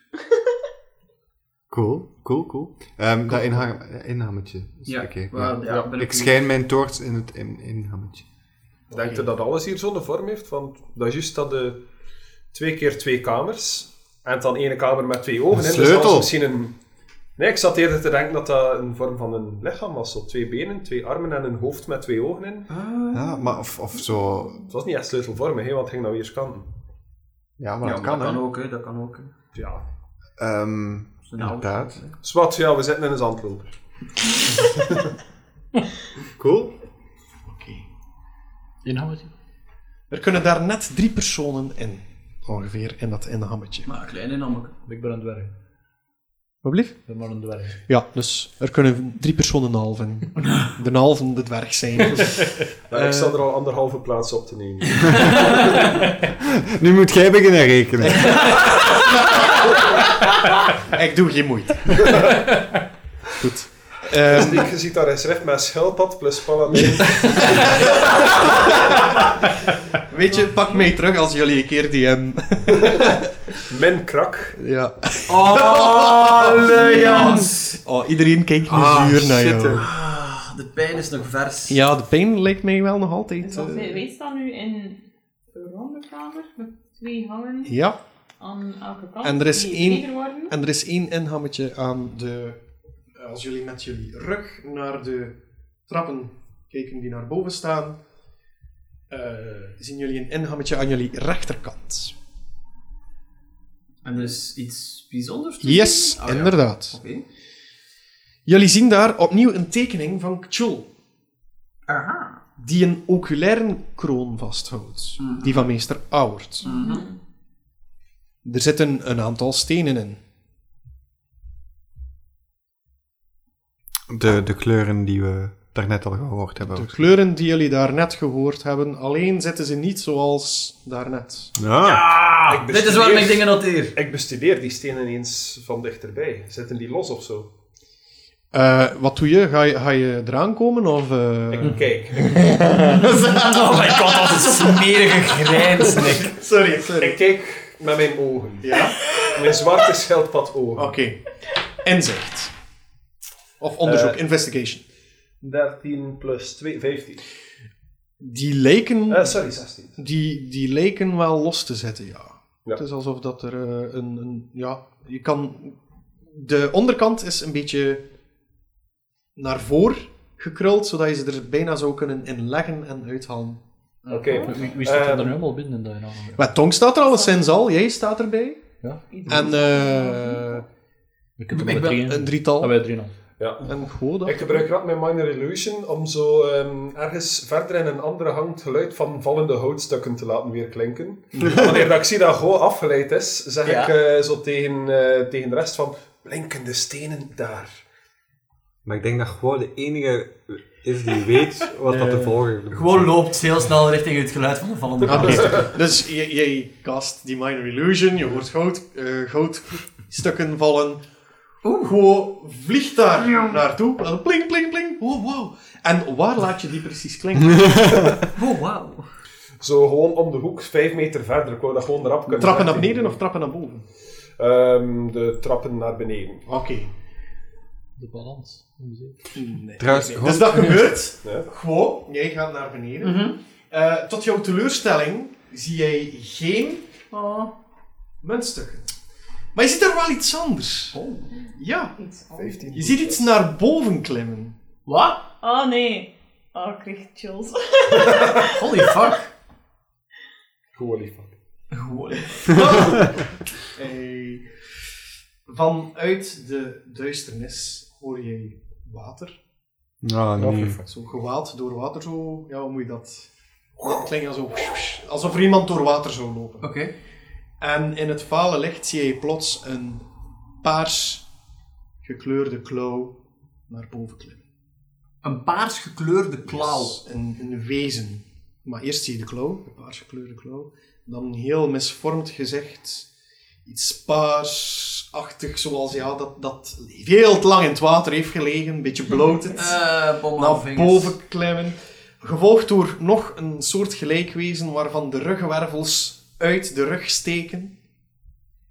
Speaker 1: Cool, cool, cool. Ehm dat inha inhammetje.
Speaker 6: Ja,
Speaker 1: Oké,
Speaker 6: wel, ja, ben
Speaker 1: Ik
Speaker 6: ook-
Speaker 1: schijn mijn toorts in het in inhammetje.
Speaker 5: Denkt u dat alles hier zo'n vorm heeft? Want dat is juist dat de twee keer twee kamers. En dan ene kamer met twee ogen.
Speaker 1: Een
Speaker 5: in, dus
Speaker 1: sleutel.
Speaker 5: dat is misschien een... Nee, ik zat eerder te denken dat dat een vorm van een lichaam was. Zo twee benen, twee armen en een hoofd met twee ogen in.
Speaker 6: Ah.
Speaker 1: Ja, maar of, of zo...
Speaker 5: Het was niet echt sleutelvormig, hè, want het ging nou eerst kanten.
Speaker 1: Ja, maar
Speaker 6: Ja,
Speaker 1: dat
Speaker 6: maar
Speaker 1: kan,
Speaker 6: dat
Speaker 1: hè.
Speaker 6: kan ook, hè. Dat kan ook, hè.
Speaker 5: Ja.
Speaker 1: Ehm, Inderdaad.
Speaker 5: Zwat, ja, we zitten in een zandloper.
Speaker 1: Cool.
Speaker 4: Inhoud.
Speaker 3: Er kunnen daar net drie personen in, ongeveer, in dat inhammetje.
Speaker 6: Maar een kleine namelijk.
Speaker 4: Ik ben een dwerg.
Speaker 3: Wat blieft?
Speaker 4: Ik ben maar een dwerg.
Speaker 3: Ja, dus er kunnen drie personen een halve. in. De halve de dwerg zijn.
Speaker 5: Maar
Speaker 1: Eh.
Speaker 5: ik zat er al anderhalve plaats op te nemen.
Speaker 1: Nu moet jij beginnen rekenen.
Speaker 3: Ik doe geen moeite. Goed. Ehm,
Speaker 5: Dus je ziet daar een schrift met schildpad plus paladijn.
Speaker 3: weet je, pak mee terug als jullie een keer die... ehm,
Speaker 5: Min krak.
Speaker 3: ja.
Speaker 4: Oh,
Speaker 6: Allianz!
Speaker 3: Oh, iedereen kijkt nu
Speaker 1: Ah,
Speaker 4: Ah,
Speaker 5: Ah,
Speaker 3: zuur
Speaker 1: nou,
Speaker 3: naar jou.
Speaker 6: De pijn is nog vers.
Speaker 3: Ja, de pijn lijkt mij wel nog altijd...
Speaker 7: Dus als
Speaker 3: eh,
Speaker 7: wij, wij staan nu in een ronde kamer met twee hangen
Speaker 3: ja,
Speaker 7: aan elke kant.
Speaker 3: En er is
Speaker 7: die
Speaker 3: één-
Speaker 7: breder worden.
Speaker 3: en er is één inhammetje aan de... eh, Als jullie met jullie rug naar de trappen kijken die naar boven staan, eh, zien jullie een inhammetje aan jullie rechterkant.
Speaker 6: En er is iets bijzonders te
Speaker 3: Yes,
Speaker 6: zien? Ah, ja.
Speaker 3: inderdaad.
Speaker 6: Oké.
Speaker 3: Jullie zien daar opnieuw een tekening van Kchul,
Speaker 6: Aha.
Speaker 3: die een oculaire kroon vasthoudt, die van meester Auwert. Er zitten een aantal stenen in.
Speaker 1: De, de kleuren die we daarnet al gehoord hebben.
Speaker 5: Dus-
Speaker 3: De kleuren die jullie daarnet gehoord hebben, alleen zitten ze niet zoals daarnet.
Speaker 1: Ja.
Speaker 5: Ik
Speaker 6: Dit is
Speaker 5: bestudeer-
Speaker 6: waarom ik dingen noteer.
Speaker 5: Ik bestudeer die stenen eens van dichterbij. Zitten die los of zo?
Speaker 3: Eh, wat doe je? Ga je, ga je eraan komen? Of, eh,
Speaker 5: Ik kijk. Ik,
Speaker 6: oh my god, dat is een smerige grijns, Nick.
Speaker 3: Sorry, sorry.
Speaker 5: ik kijk met mijn ogen.
Speaker 3: Ja?
Speaker 5: Mijn zwarte schildpad ogen.
Speaker 3: Oké. Inzicht. Of onderzoek,
Speaker 5: Eh.
Speaker 3: investigation.
Speaker 5: 13 plus 2, 15.
Speaker 3: Die lijken...
Speaker 5: Eh, sorry, 16.
Speaker 3: die, die lijken wel los te zetten, ja.
Speaker 5: Ja.
Speaker 3: Het is alsof dat er eh, een, een... Ja, je kan... De onderkant is een beetje naar voren gekruld, zodat je ze er bijna zou kunnen inleggen en uithalen.
Speaker 5: Oké.
Speaker 4: Wie, wie staat er
Speaker 5: Ehm.
Speaker 4: nu allemaal binnen in dat inhoud?
Speaker 3: Maar Tong staat er alleszins al, jij staat erbij.
Speaker 4: Ja.
Speaker 3: En eh,
Speaker 4: Ik heb er
Speaker 6: Ik
Speaker 4: maar
Speaker 6: ben-
Speaker 4: drieën.
Speaker 3: een
Speaker 4: Ah,
Speaker 3: drietal.
Speaker 4: wij drieën al.
Speaker 5: Ja.
Speaker 3: En Goda.
Speaker 5: Ik gebruik rap mijn minor illusion om zo ehm, ergens verder in een andere hang het geluid van vallende houtstukken te laten weer klinken. Wanneer dat ik zie dat Go afgeleid is, zeg
Speaker 6: Ja.
Speaker 5: ik eh, zo tegen, eh, tegen de rest van blinkende stenen daar.
Speaker 1: Maar ik denk dat gewoon de enige is die weet wat
Speaker 4: Eh,
Speaker 1: dat de volgende
Speaker 6: Gewoon loopt heel snel richting het geluid van de vallende
Speaker 3: Oké,
Speaker 6: bal.
Speaker 3: dus j- jij cast die Minor Illusion, je hoort goud, eh, goudstukken vallen. Oeh. Gewoon vliegt daar naartoe. En dan Pling, pling, pling. Wow, wow. En waar laat je die precies klinken?
Speaker 6: Oh, wauw.
Speaker 5: Zo gewoon om de hoek, vijf meter verder. Ik wou dat gewoon rap kunnen
Speaker 3: Trappen naar
Speaker 5: zeggen.
Speaker 3: beneden of trappen naar boven?
Speaker 5: Ehm, de trappen naar beneden.
Speaker 3: Oké.
Speaker 4: De balans.
Speaker 3: Nee.
Speaker 5: Trouwens,
Speaker 3: Nee.
Speaker 5: hoor-
Speaker 3: Dus dat gebeurt.
Speaker 8: Ja.
Speaker 3: Gewoon, jij gaat naar beneden.
Speaker 6: Mhm.
Speaker 3: Eh, tot jouw teleurstelling zie jij geen muntstukken. Maar je ziet er wel iets anders. Ja,
Speaker 9: Iets anders.
Speaker 8: 15.
Speaker 3: je ziet iets naar boven klimmen.
Speaker 6: Wat?
Speaker 7: Ah,
Speaker 9: Oh nee. Oh, ik kreeg chills.
Speaker 6: Holy fuck.
Speaker 8: Gewoon lief van.
Speaker 6: Gewoon.
Speaker 3: Eh, vanuit de duisternis hoor je water.
Speaker 5: Nou, nee.
Speaker 3: Zo gewaad door water, zo... Ja, hoe moet je dat... Dat klinkt als zo... Alsof er iemand door water zou lopen.
Speaker 6: Oké.
Speaker 3: En in het vale licht zie je plots een paars gekleurde klauw naar boven klimmen.
Speaker 6: Een paars gekleurde klauw.
Speaker 3: Yes, Een, een wezen. Maar eerst zie je de klauw, de paars gekleurde klauw. Dan een heel misvormd gezicht. Iets paarsachtig, zoals ja, dat, dat veel te lang in het water heeft gelegen. Een beetje bloated.
Speaker 6: Eh, bom aan
Speaker 3: naar Nou,
Speaker 6: vingers.
Speaker 3: boven klimmen. Gevolgd door nog een soort gelijkwezen waarvan de ruggenwervels uit de rug steken.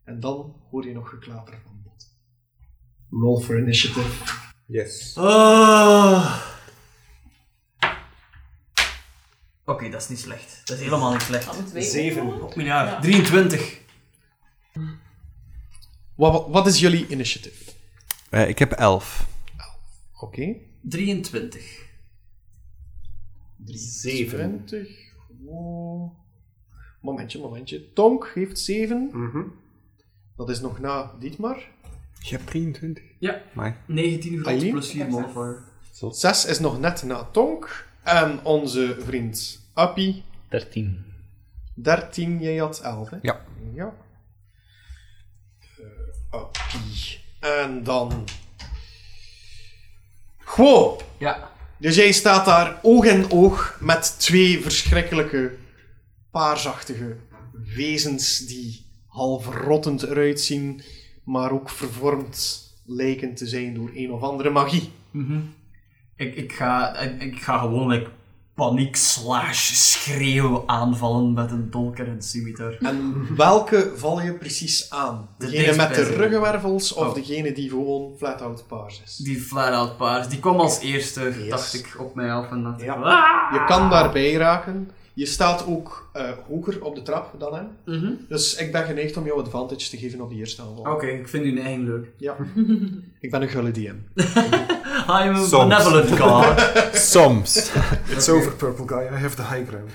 Speaker 3: En dan hoor je nog geklater van bot. Roll for initiative.
Speaker 5: Yes.
Speaker 6: Ah. Oké, dat is niet slecht. Dat is helemaal niet
Speaker 9: Had
Speaker 6: slecht.
Speaker 9: het twee opgenomen?
Speaker 6: Op mijn jaar.
Speaker 9: Ja.
Speaker 6: 23.
Speaker 3: Wat, wat- wat is jullie initiative?
Speaker 1: Eh, ik heb elf.
Speaker 3: Oké.
Speaker 6: 23.
Speaker 3: 20. Oh. Momentje, momentje. Tonk heeft 7. Dat is nog na Dietmar.
Speaker 5: Je hebt 23.
Speaker 6: Ja.
Speaker 5: Maar
Speaker 6: 19 grond
Speaker 3: Aileen?
Speaker 6: plus 4 modifier.
Speaker 3: 6 is nog net na Tonk. En onze vriend Appie
Speaker 4: 13.
Speaker 3: 13, jij had 11, hè?
Speaker 5: Ja.
Speaker 3: Ja. Eh, Oké. En dan... Gewoon.
Speaker 6: Ja.
Speaker 3: Dus jij staat daar oog in oog met twee verschrikkelijke, paarsachtige wezens die half rottend eruit zien, maar ook vervormd lijken te zijn door een of andere magie.
Speaker 6: Ik, ik, ga, ik, ik ga gewoon like, paniek slash schreeuw aanvallen met een dolker en een scimitar.
Speaker 3: En welke val je precies aan?
Speaker 6: De
Speaker 3: Degene met de
Speaker 6: dichtstbijzijnde.
Speaker 3: ruggenwervels of
Speaker 6: Oh.
Speaker 3: degene die gewoon flat-out paars is?
Speaker 6: Die flat-out paars, die kwam als eerste,
Speaker 3: Yes.
Speaker 6: dacht ik, op mij af. En dacht ik,
Speaker 3: Ja.
Speaker 6: "Ah."
Speaker 3: Je kan daarbij raken. Je staat ook eh, hoger op de trap dan hem.
Speaker 6: Mhm. Oh.
Speaker 3: Dus ik ben geneigd om jou advantage te geven op die eerste aanval.
Speaker 6: Oké, ik vind uw neiging leuk.
Speaker 3: Ja. ik ben een gulle DM.
Speaker 6: I am a
Speaker 5: Soms.
Speaker 6: benevolent god.
Speaker 5: soms.
Speaker 8: It's over, purple guy. I have the high ground.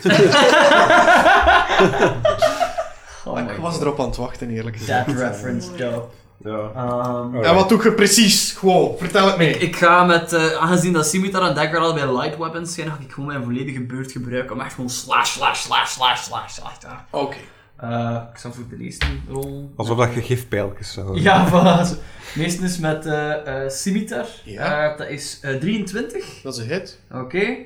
Speaker 6: Oh my
Speaker 3: ik was
Speaker 6: god.
Speaker 3: erop aan het wachten, eerlijk gezegd.
Speaker 6: That reference, dope.
Speaker 8: ja.
Speaker 6: Ehm,
Speaker 3: En wat doe je precies? Gewoon, vertel het mij.
Speaker 6: Ik ga met, eh, aangezien dat Scimitar en Dagger al bij light weapons zijn, ga ik gewoon mijn volledige beurt gebruiken om echt gewoon slash, slash, slash, slash, slash, slash. te-
Speaker 3: Oké.
Speaker 6: Eh, ik zal voor de eerste rol.
Speaker 5: Alsof dat je gifpijltjes zou...
Speaker 6: Ja, voilà. Meestal is met eh eh Scimitar.
Speaker 3: Ja.
Speaker 6: Eh, dat is eh, 23.
Speaker 3: Dat is een hit.
Speaker 6: Oké.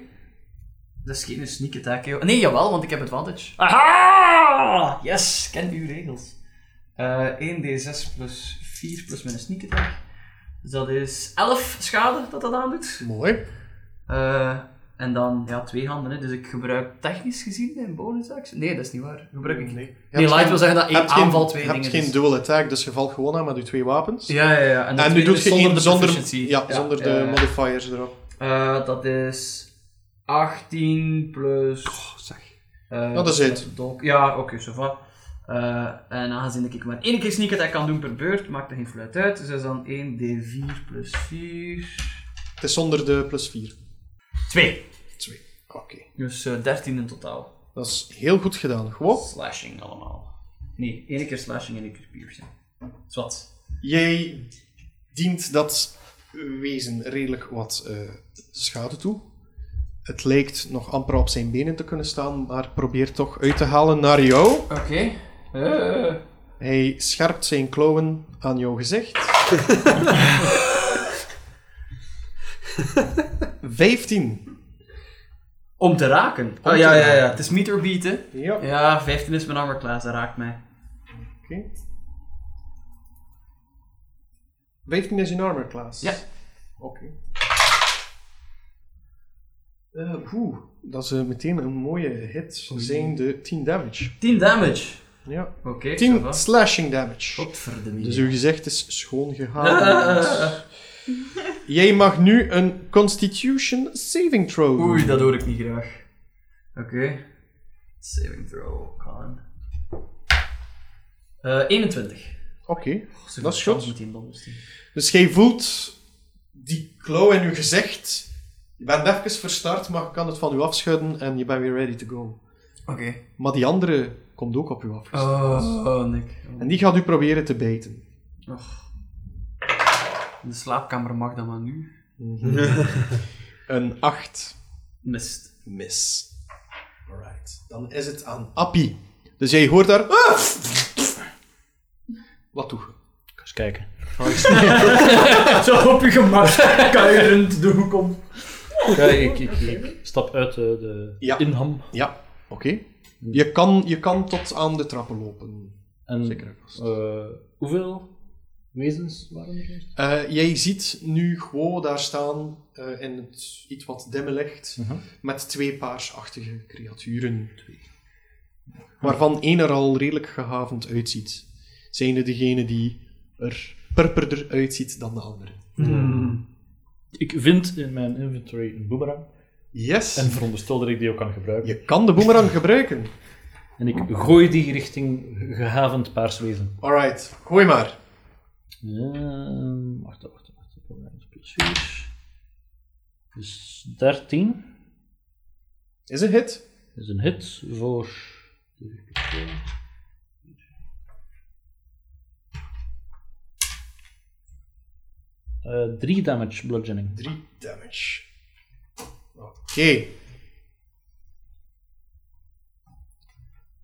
Speaker 6: Dat is geen sneak attack, joh. Nee, jawel, want ik heb advantage. Aha! Yes, ken uw regels. Eh 1d6 plus 4 plus mijn sneak attack. Dus dat is 11 schade dat dat aandoet.
Speaker 3: Mooi.
Speaker 6: Eh, en dan, ja, twee handen, hè. dus ik gebruik technisch gezien mijn bonus action. Nee, dat is niet waar. Gebruik ik niet. Nee, Light wil zeggen dat één aanval twee
Speaker 3: Je
Speaker 6: dingen
Speaker 3: hebt geen
Speaker 6: is.
Speaker 3: dual attack, dus je valt gewoon aan met je twee wapens.
Speaker 6: Ja, ja, ja. En, de
Speaker 3: en nu
Speaker 6: tweede
Speaker 3: doet
Speaker 6: is
Speaker 3: je
Speaker 6: zonder
Speaker 3: één
Speaker 6: de
Speaker 3: zonder,
Speaker 6: proficiency.
Speaker 3: ja, zonder de
Speaker 6: eh,
Speaker 3: modifiers erop.
Speaker 6: eh, dat is 18 plus... eh,
Speaker 3: Dat is het.
Speaker 6: dolk- Ja, oké, zo va. Eh, en aangezien dat ik maar één keer sneak attack kan doen per beurt, maakt dat geen fluit uit. Dus dat is dan 1d4 plus 4...
Speaker 3: Het is zonder de plus 4.
Speaker 6: 2.
Speaker 3: Twee. Oké.
Speaker 6: Dus eh, 13 in totaal.
Speaker 3: Dat is heel goed gedaan. Gewoon.
Speaker 6: Slashing allemaal. Nee, één keer slashing en één keer piercing. Zwat.
Speaker 3: Jij dient dat wezen redelijk wat eh, schade toe. Het lijkt nog amper op zijn benen te kunnen staan, maar probeert toch uit te halen naar jou.
Speaker 6: Oké.
Speaker 3: Hij scherpt zijn klauwen aan jouw gezicht. 15.
Speaker 6: Om te raken. Oh,
Speaker 3: te
Speaker 6: ja, ja,
Speaker 3: raken.
Speaker 6: ja. Het is meter beat, hè.
Speaker 3: Ja. Oké.
Speaker 6: Ja, 15 is mijn armor class, dat raakt mij.
Speaker 3: 15 is in armor class.
Speaker 6: Ja.
Speaker 3: Oké. Eh, oeh, dat is eh, meteen een mooie hit. Zijn de 10 damage.
Speaker 6: 10 damage.
Speaker 3: Ja.
Speaker 6: Oké,
Speaker 3: 10 slashing damage.
Speaker 6: Godverdomme.
Speaker 3: Dus uw gezicht is schoon
Speaker 6: Ah, ah,
Speaker 3: gehaald.
Speaker 6: ah, ah.
Speaker 3: Jij mag nu een Constitution Saving Throw doen.
Speaker 6: Oei, dat hoor ik niet graag. Oké. Saving throw, Colin. Eh 21.
Speaker 3: Oké.
Speaker 6: Zoveel
Speaker 3: Dat is
Speaker 6: kans
Speaker 3: goed.
Speaker 6: Moet die in donders zien.
Speaker 3: Dus jij voelt die klauw in je gezicht. Je bent even verstart, maar je kan het van je afschudden en je bent weer ready to go.
Speaker 6: Oké.
Speaker 3: Maar die andere komt ook op je af.
Speaker 6: Oh, oh, Nick.
Speaker 3: En die gaat u proberen te bijten.
Speaker 6: In de slaapkamer mag dat maar nu.
Speaker 3: Een 8
Speaker 6: Mist.
Speaker 3: mis. Alright. Dan is het aan Appie. Dus jij hoort daar... Wat doe je?
Speaker 4: Ik ga eens kijken.
Speaker 6: Zo op je gemak, kuierend de hoek om.
Speaker 4: Ja, ik, ik, ik stap uit de, de
Speaker 3: Ja.
Speaker 4: inham.
Speaker 3: Ja, oké. Je, kan, je kan tot aan de trappen lopen.
Speaker 4: En
Speaker 3: Zeker. en vast.
Speaker 4: eh, hoeveel wezens waren er?
Speaker 3: Eh, jij ziet nu Guo daar staan eh, in het iets wat dimme licht
Speaker 4: Mhm.
Speaker 3: met twee paarsachtige creaturen. Waarvan één er al redelijk gehavend uitziet. Zijn er degene die er purperder uitziet dan de andere.
Speaker 4: Ik vind in mijn inventory een boomerang.
Speaker 3: Yes.
Speaker 4: En veronderstel dat ik die ook kan gebruiken.
Speaker 3: Je kan de boemerang gebruiken.
Speaker 4: En ik gooi die richting gehavend paarswezen.
Speaker 3: Alright, gooi maar.
Speaker 4: Ehm, wacht, wacht, wacht. Ik wil mijn plus Dus 13
Speaker 3: Is een hit.
Speaker 4: is een hit voor. Eh 3 damage bludgeoning.
Speaker 3: 3 damage. Oké.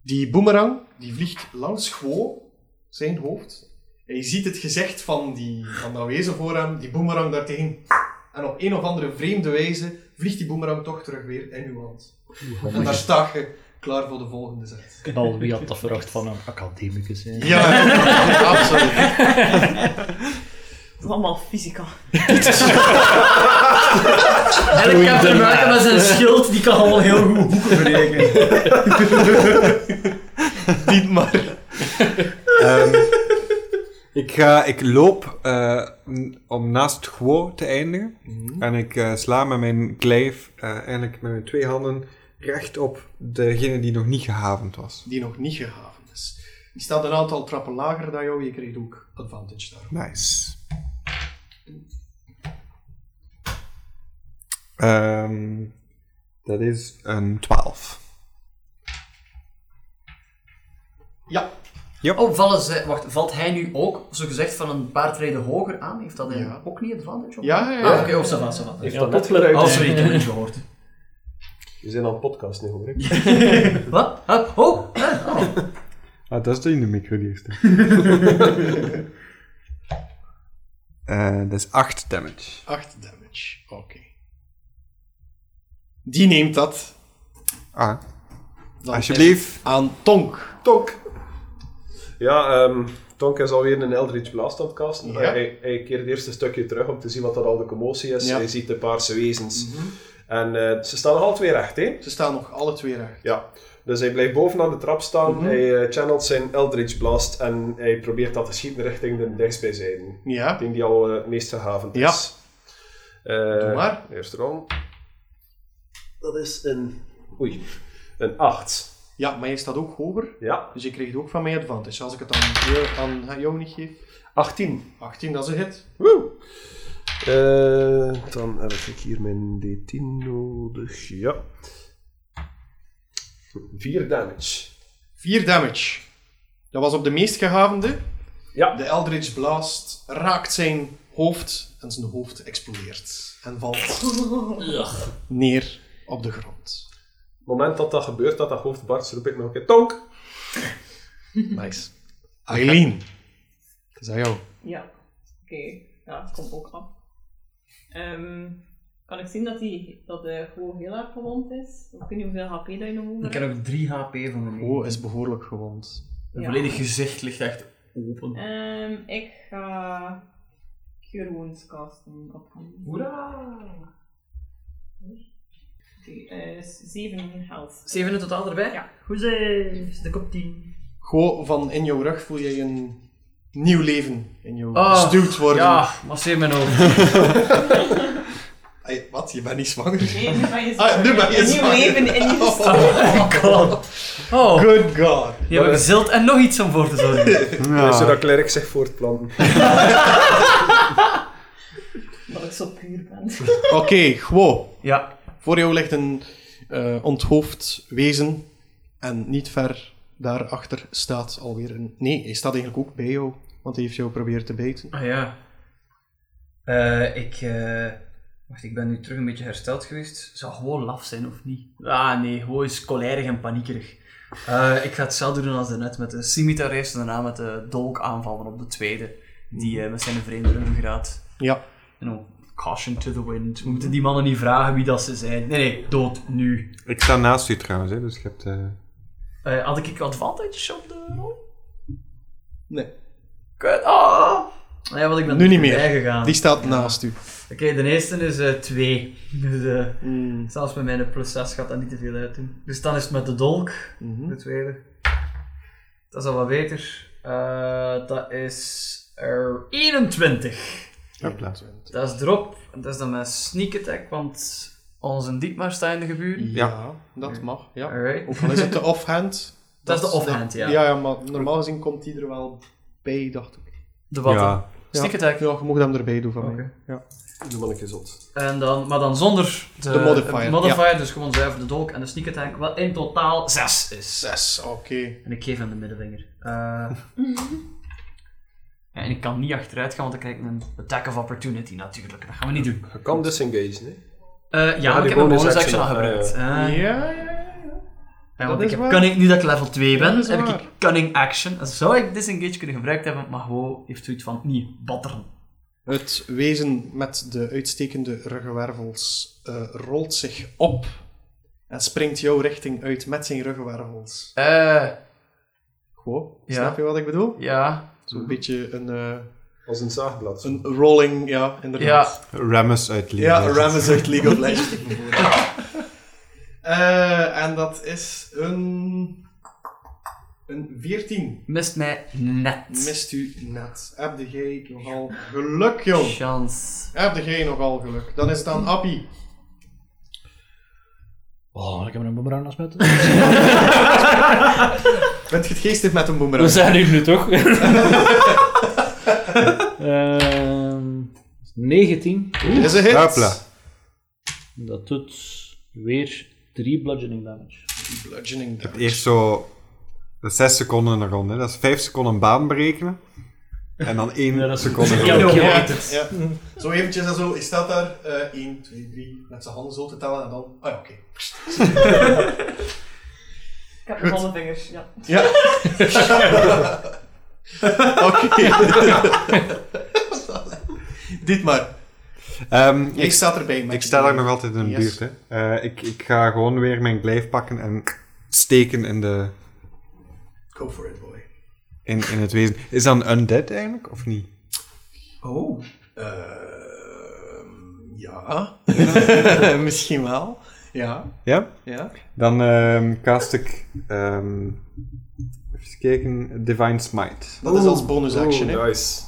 Speaker 3: Die boemerang die vliegt langs Guo, zijn hoofd. En je ziet het gezicht van, die, van dat wezen voor hem, die boemerang daartegen. En op een of andere vreemde wijze vliegt die boemerang toch terug weer in uw hand. En daar sta je klaar voor de volgende zet.
Speaker 4: Al wie had dat verwacht van een academicus? hè?
Speaker 3: Ja, absoluut.
Speaker 11: Het is allemaal fysica.
Speaker 6: Elk kan te maken met zijn schild, die kan allemaal heel goed hoeken berekenen.
Speaker 3: Niet maar.
Speaker 1: Ehm, ik, ga, ik loop eh, n- om naast Guo te eindigen. En ik eh, sla met mijn kleef, eh, eigenlijk met mijn twee handen, recht op degene die nog niet gehavend was.
Speaker 3: Die nog niet gehavend is. Die staat een aantal trappen lager dan jou, je krijgt ook advantage daarop.
Speaker 1: Nice. Ehm, dat is een 12.
Speaker 3: Ja,
Speaker 6: Oh, vallen ze, wacht, valt hij nu ook, zo gezegd, van een paar treden hoger aan? Heeft dat hij
Speaker 3: Ja.
Speaker 6: ook niet advantage op?
Speaker 3: ja, ja.
Speaker 6: Ah, oké, oh, ça va, ça va.
Speaker 4: Ja,
Speaker 5: dat
Speaker 4: dat
Speaker 5: net geluid?
Speaker 6: Oh, sorry, ik heb het niet gehoord.
Speaker 5: We zijn aan het podcast nu, hoor ik.
Speaker 6: Wat? Ah, oh, ah, oh.
Speaker 1: Ah, dat is de in de micro die eerste. Eh, dat is 8 damage.
Speaker 3: 8 damage. Oké. Die neemt dat.
Speaker 1: Ah,
Speaker 3: Dan
Speaker 1: alsjeblieft.
Speaker 3: is Aan Tonk.
Speaker 5: Tonk. Ja, ehm, Tonk is alweer een Eldritch Blast aan het casten.
Speaker 3: Ja.
Speaker 5: Hij, hij keert eerst een stukje terug om te zien wat er al de commotie is.
Speaker 3: Ja. Mhm.
Speaker 5: Hij ziet de paarse wezens. En eh, ze staan nog al twee recht, hè?
Speaker 3: Ze staan nog alle twee recht.
Speaker 5: Ja. Dus hij blijft bovenaan de trap staan.
Speaker 3: Mhm.
Speaker 5: Hij eh, channelt zijn Eldritch Blast en hij probeert dat te schieten richting de dichtstbijzijde.
Speaker 3: Ja.
Speaker 5: Ding die al eh, het meest gehavend
Speaker 3: Ja.
Speaker 5: is. Eh,
Speaker 3: Doe maar.
Speaker 5: Eerste rond. Dat is een... Oei. Een 8.
Speaker 3: Ja, maar jij staat ook hoger.
Speaker 5: Ja.
Speaker 3: Dus je krijgt ook van mij advantage. Als ik het aan, je- aan jou niet geef.
Speaker 5: 18.
Speaker 3: 18, dat is een hit.
Speaker 5: Woe! Eh, dan heb ik hier mijn D10 nodig. Ja. 4 damage.
Speaker 3: 4 damage. Dat was op de meest gehavende.
Speaker 5: Ja.
Speaker 3: De Eldritch Blast raakt zijn hoofd. En zijn hoofd explodeert. En valt neer op de grond.
Speaker 5: Op het moment dat dat gebeurt, dat dat hoofd barst, roep ik nog een keer tonk.
Speaker 3: Nice. Aileen. Dat is aan jou.
Speaker 7: Ja, oké. Ja, het komt ook af. Ehm, kan ik zien dat hij dat hij gewoon heel erg gewond is? Ik weet niet hoeveel HP dat je nog over
Speaker 6: Ik heb
Speaker 7: hebt.
Speaker 6: ook 3 HP van de
Speaker 3: Oh, is behoorlijk gewond.
Speaker 6: Mijn
Speaker 7: Ja.
Speaker 6: volledig gezicht ligt echt open.
Speaker 7: Ehm, ik ga Cure Wounds casten op hem.
Speaker 6: Hoera!
Speaker 7: Die is 7 health.
Speaker 6: 7 in totaal erbij? Ja. Hoezee, zit ik op 10.
Speaker 3: Gewoon van in jouw rug voel je een nieuw leven in jou
Speaker 6: Ah,
Speaker 3: gestuwd worden.
Speaker 6: Ja, masseer mijn hoofd.
Speaker 3: Ai, wat? Je bent niet zwanger?
Speaker 7: Nee, nu ben je
Speaker 3: Ah, nu ben je
Speaker 7: Een nieuw
Speaker 3: zwanger.
Speaker 7: leven in je stad.
Speaker 6: Oh god. Oh,
Speaker 3: Good god.
Speaker 6: je hebt gezild en nog iets om voor te zorgen.
Speaker 2: Ja. Zodat Klerk zich voortplanten.
Speaker 7: Dat ik zo puur ben.
Speaker 3: Oké, gewoon.
Speaker 6: Ja.
Speaker 3: Voor jou ligt een eh, onthoofd wezen. En niet ver daarachter staat alweer een... Nee, hij staat eigenlijk ook bij jou. Want hij heeft jou proberen te bijten.
Speaker 6: Ah ja. Eh, ik... eh, wacht, ik ben nu terug een beetje hersteld geweest. Zou gewoon laf zijn, of niet? Ah nee, gewoon is kolerig en paniekerig. Eh, ik ga hetzelfde doen als daarnet met eh, de scimitar eerst en daarna met de dolk aanvallen op de tweede. Die eh, met zijn vreemde ruggengraat.
Speaker 3: Ja.
Speaker 6: You know, caution to the wind. We moeten die mannen niet vragen wie dat ze zijn. Nee, nee, dood nu.
Speaker 1: Ik sta naast u trouwens, hè, dus je hebt... eh,
Speaker 6: Eh, had ik advantage op de rol?
Speaker 3: Nee.
Speaker 6: Kut, ah! Ja, want ik ben
Speaker 3: Nu
Speaker 6: er
Speaker 3: niet meer.
Speaker 6: voorbij gegaan.
Speaker 3: Die staat naast u.
Speaker 6: Oké, de eerste is 2. dus eh, zelfs met mijn plus 6 gaat dat niet te veel uit doen. Dus dan is het met de dolk,
Speaker 3: Mhm.
Speaker 6: de tweede. Dat is al wat beter. Eh, dat is er 21.
Speaker 1: hopla.
Speaker 6: Dat is erop. En Dat is dan mijn sneak attack, want onze Dietmar staat in de geburen.
Speaker 3: Ja, dat mag. Ja.
Speaker 6: Alright.
Speaker 3: Ook al is het de offhand.
Speaker 6: Dat is de offhand, ja.
Speaker 3: nou- Ja, ja, maar normaal gezien komt die er wel bij, dacht ik.
Speaker 6: De wat? dan?
Speaker 1: Ja,
Speaker 6: Sneak attack.
Speaker 3: Ja, je mag hem erbij doen van mij.
Speaker 6: Oké.
Speaker 2: Doe wel een keer zot.
Speaker 6: En dan, maar dan zonder de,
Speaker 3: De modifier,
Speaker 6: de modifier, dus gewoon zuiver de dolk en de sneak attack, wat in totaal 6 is.
Speaker 3: Zes, oké.
Speaker 6: En ik geef hem de middenvinger. Eh, ja, en ik kan niet achteruit gaan, want dan krijg ik een attack of opportunity natuurlijk. Dat gaan we niet doen.
Speaker 2: Je kan disengage, nee?
Speaker 6: Eh, ja,
Speaker 2: die
Speaker 6: maar ik heb een
Speaker 2: bonus
Speaker 6: bonus
Speaker 2: action
Speaker 6: action al
Speaker 2: al,
Speaker 6: gebruikt.
Speaker 3: Ja,
Speaker 6: Eh,
Speaker 3: ja, ja. ja.
Speaker 6: ja,
Speaker 3: dat
Speaker 6: want
Speaker 3: is
Speaker 6: ik heb
Speaker 3: waar.
Speaker 6: cunning, nu dat ik level 2 ben,
Speaker 3: Dat is
Speaker 6: heb
Speaker 3: waar.
Speaker 6: ik cunning action. Dan zou ik disengage kunnen gebruikt hebben, maar gewoon heeft zoiets van niet batteren.
Speaker 3: Het wezen met de uitstekende ruggenwervels eh, rolt zich op en springt jouw richting uit met zijn ruggenwervels.
Speaker 6: Eh,
Speaker 3: Goh,
Speaker 6: Ja.
Speaker 3: snap je wat ik bedoel?
Speaker 6: ja.
Speaker 3: Zo'n beetje een, eh,
Speaker 2: Als een zaagblad.
Speaker 3: een rolling, ja, inderdaad.
Speaker 6: Ja,
Speaker 1: Rammus uit Leeds.
Speaker 3: Ja, Ram is echt League of Legends. Eh, en dat is een... Een 14.
Speaker 6: mist mij net.
Speaker 3: Mist u net. Heb jij nogal geluk, jong.
Speaker 6: Chance.
Speaker 3: Heb jij nogal geluk. Dan is het aan Appie.
Speaker 5: Oh, ik heb een boemerang als met.
Speaker 3: Bent je het geestig met een
Speaker 5: We
Speaker 3: boemerang?
Speaker 5: zijn hier nu toch? Ehm 19.
Speaker 3: Is een hit.
Speaker 1: Hopla.
Speaker 5: Dat doet weer 3 bludgeoning damage.
Speaker 3: Bludgeoning damage.
Speaker 1: Eerst zo... Dat is zes seconden in een ronde, hè. Dat is vijf seconden een baan berekenen. En dan één
Speaker 5: Ja, dat is-
Speaker 1: seconde...
Speaker 5: Ja,
Speaker 1: roken.
Speaker 5: oké.
Speaker 3: Ja, ja. Zo eventjes en zo. Hij staat daar. eh, 1, 2, 3. Met zijn handen zo te tellen. En dan... Ah ja, oké.
Speaker 7: Ik heb alle vingers, ja.
Speaker 3: Ja. oké. Dit maar.
Speaker 1: Ehm,
Speaker 3: Ik
Speaker 1: ik,
Speaker 3: sta erbij. met
Speaker 1: ik
Speaker 3: je.
Speaker 1: sta daar nog altijd in de
Speaker 3: Yes.
Speaker 1: buurt, hè. Eh, ik, ik ga gewoon weer mijn glijf pakken en steken in, de,
Speaker 3: Go for it, boy.
Speaker 1: in, in het wezen. Is dat een undead eigenlijk, of niet?
Speaker 6: Oh.
Speaker 3: Ehm, ja. Misschien wel. Ja.
Speaker 1: Ja?
Speaker 3: Ja.
Speaker 1: Dan ehm cast ik... ehm, even kijken... Divine Smite.
Speaker 3: Dat is als bonus action, hè.
Speaker 2: Oeh, nice.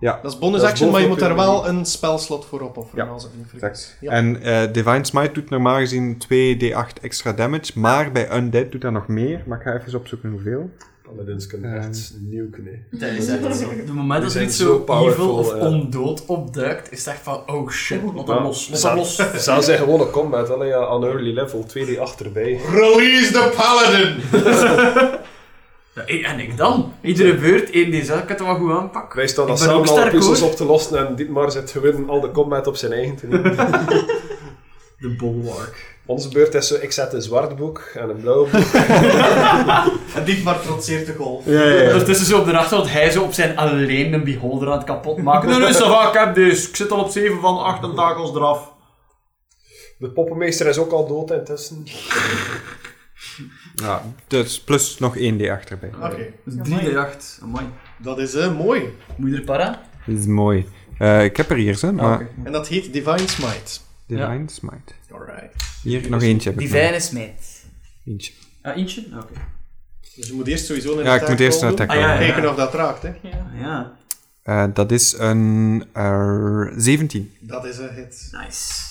Speaker 3: Dat is bonus
Speaker 2: Dat is
Speaker 3: action, maar je moet
Speaker 2: bovenop
Speaker 3: daar
Speaker 2: je
Speaker 3: wel een spelslot voor opofferen.
Speaker 1: Ja,
Speaker 3: Als het niet verkeerd is.
Speaker 1: Exact.
Speaker 3: Ja.
Speaker 1: En eh, Divine Smite doet normaal gezien 2d8 extra damage, maar bij Undead doet dat nog meer. Maar ik ga even opzoeken hoeveel.
Speaker 2: Paladins kunnen
Speaker 1: Ehm.
Speaker 2: echt nuken, nee.
Speaker 6: Dat is echt zo. De moment dat
Speaker 2: zijn
Speaker 6: iets
Speaker 2: zo
Speaker 6: zo evil
Speaker 2: powerful,
Speaker 6: of
Speaker 2: eh.
Speaker 6: ondood opduikt, is het echt van, oh shit, wat
Speaker 2: Ja.
Speaker 6: een los. Wat een los.
Speaker 2: Zou zijn gewoon een combat, alleen ja, on early level, 2D achterbij.
Speaker 3: Release the paladin!
Speaker 6: Ja, ik- en ik dan? Iedere beurt, één die zelf, ik kan het wel goed aanpakken.
Speaker 2: Wij staan dan
Speaker 6: Ik ben ook
Speaker 2: samen alle
Speaker 6: sterk,
Speaker 2: puzzels
Speaker 6: hoor.
Speaker 2: op te lossen en Dietmar zet gewoon al de combat op zijn eigen te doen.
Speaker 6: De bulwark.
Speaker 2: Onze beurt is zo, ik zet een zwart boek en een blauw boek.
Speaker 3: En dit maar trotseert de golf.
Speaker 6: Ondertussen zo op de nacht, want hij zo op zijn alleen een beholder aan het kapot maken. Nee, nee, ça va, ik heb dus. Ik zit al op 7 van 8 en takels eraf.
Speaker 2: De poppenmeester is ook al dood intussen.
Speaker 1: Ja, dus plus nog 1d8 erbij.
Speaker 3: Oké.
Speaker 6: Dus 3 de 8. Amai.
Speaker 3: Dat is eh, mooi.
Speaker 6: Moet je er para?
Speaker 1: Dat is mooi. Eh, ik heb er hier, hè, maar
Speaker 3: En dat heet Divine Smite.
Speaker 1: Divine Smite.
Speaker 3: Alright.
Speaker 1: Hier, nog eentje heb ik.
Speaker 6: Divine smijt.
Speaker 1: nog. Eentje.
Speaker 6: Ah, eentje? Ah, Oké.
Speaker 3: Dus je moet eerst sowieso een
Speaker 1: Ja, ik moet eerst een attack
Speaker 6: Ah, ja,
Speaker 1: rollen.
Speaker 6: ja.
Speaker 3: Kijken of dat raakt, hè.
Speaker 6: Ja,
Speaker 1: Eh, dat is een eh, 17.
Speaker 3: Dat is een hit.
Speaker 6: nice.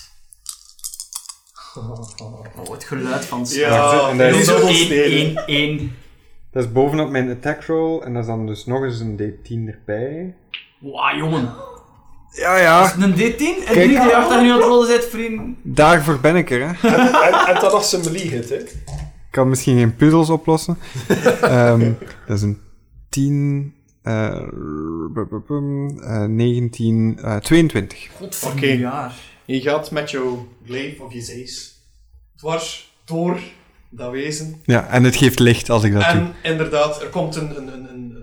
Speaker 6: Oh, het geluid van
Speaker 3: Ja,
Speaker 1: en dat
Speaker 6: Nu
Speaker 1: is-
Speaker 6: zo
Speaker 3: dubbel
Speaker 6: 1,
Speaker 3: sneden.
Speaker 6: 1, 1.
Speaker 1: Dat is bovenop mijn attack roll en dat is dan dus nog eens een D10 erbij.
Speaker 6: Wauw, jongen.
Speaker 1: Ja, ja.
Speaker 6: Een D10? En
Speaker 1: Kijk.
Speaker 6: jullie die achter nu aan het rollen zit, vriend.
Speaker 1: Daarvoor ben ik er, hè.
Speaker 8: En, en dat als ze melee hit, hè.
Speaker 1: Ik kan misschien geen puzzels oplossen. Ehm, dat is een 10, eh, bum, bum, bum, eh, 19, eh, 22.
Speaker 6: Godverdomme
Speaker 3: Oké.
Speaker 6: jaar.
Speaker 3: Je gaat met jouw glaive of je zees dwars door dat wezen.
Speaker 1: Ja, en het geeft licht als ik dat doe.
Speaker 3: en inderdaad, er komt een, een, een, een,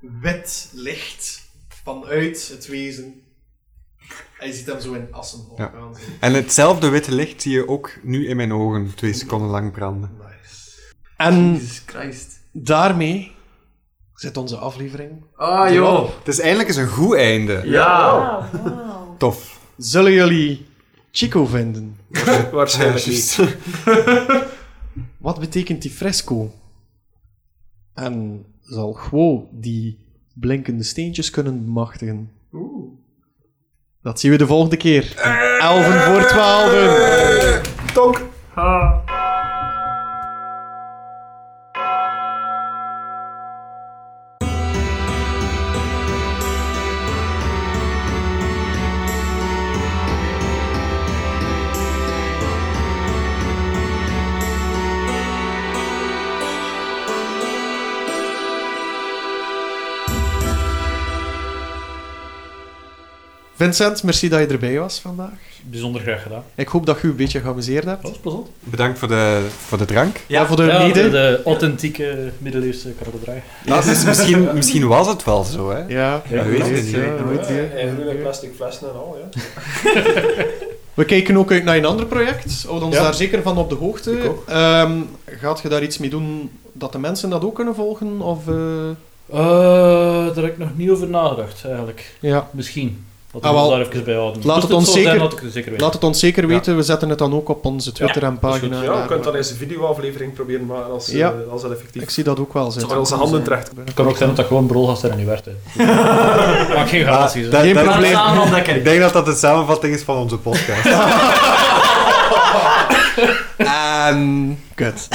Speaker 3: een wit licht vanuit het wezen. En je ziet hem zo in assen opgaan.
Speaker 1: En hetzelfde witte licht zie je ook nu in mijn ogen twee seconden lang branden.
Speaker 3: Nice. En
Speaker 6: Jesus Christ.
Speaker 3: daarmee zit onze aflevering.
Speaker 6: Ah, joh.
Speaker 1: Het is eindelijk eens een goed einde.
Speaker 6: Ja.
Speaker 3: Oh.
Speaker 9: Ah, wauw.
Speaker 1: Tof.
Speaker 3: Zullen jullie Chico vinden?
Speaker 8: Waarschijnlijk
Speaker 1: Ja,
Speaker 8: niet.
Speaker 3: Wat betekent die fresco? En zal Gwo die blinkende steentjes kunnen bemachtigen? Oeh. Dat zien we de volgende keer. Elven voor twaalfen. Vincent, merci dat je erbij was vandaag.
Speaker 4: Bijzonder graag gedaan.
Speaker 3: Ik hoop dat je een beetje geamuseerd hebt.
Speaker 4: Dat was plezant.
Speaker 1: Bedankt voor de, voor de drank.
Speaker 3: Ja, voor de
Speaker 4: Ja,
Speaker 3: mede.
Speaker 4: de, de authentieke middeleeuwse karabeldraai.
Speaker 1: Dat is misschien, misschien was het wel zo, hè.
Speaker 3: Ja,
Speaker 1: Ja,
Speaker 3: we
Speaker 1: weet
Speaker 3: weten
Speaker 1: het
Speaker 3: het,
Speaker 1: niet.
Speaker 3: ja, nooit
Speaker 8: Ja,
Speaker 3: hier.
Speaker 8: en groene plastic flessen en al, ja.
Speaker 3: We kijken ook uit naar een ander project. Houd ons daar zeker van op de hoogte. Ehm, gaat je daar iets mee doen dat de mensen dat ook kunnen volgen? Of, eh,
Speaker 4: Eh, daar heb ik nog niet over nagedacht, eigenlijk.
Speaker 3: ja.
Speaker 4: Misschien. Dat
Speaker 3: Ah,
Speaker 4: we
Speaker 3: wel.
Speaker 4: ons daar even bij houden.
Speaker 3: Laat
Speaker 4: Moest
Speaker 3: het ons
Speaker 4: zo
Speaker 3: zeker-
Speaker 4: Zijn, laat ik het zeker weten.
Speaker 3: Laat het ons zeker weten. We zetten het dan ook op onze Twitter en pagina.
Speaker 8: Ja,
Speaker 3: en
Speaker 8: je kunt
Speaker 3: daar.
Speaker 8: dan eens een videoaflevering proberen maken als, eh,
Speaker 3: Ja.
Speaker 8: als dat effectief
Speaker 3: Ik zie dat ook wel
Speaker 8: Terwijl
Speaker 3: zitten.
Speaker 8: onze handen terecht.
Speaker 4: Het kan ook zijn dat dat gewoon brol gaat zijn en niet werd. hè. Maak geen garanties. hè.
Speaker 1: Dat-
Speaker 3: Geen
Speaker 1: dat-
Speaker 6: Laat het
Speaker 3: probleem.
Speaker 6: samen
Speaker 1: Ik
Speaker 6: ontdekken.
Speaker 1: denk dat dat de samenvatting is van onze podcast.
Speaker 3: Ehm, En... Kut.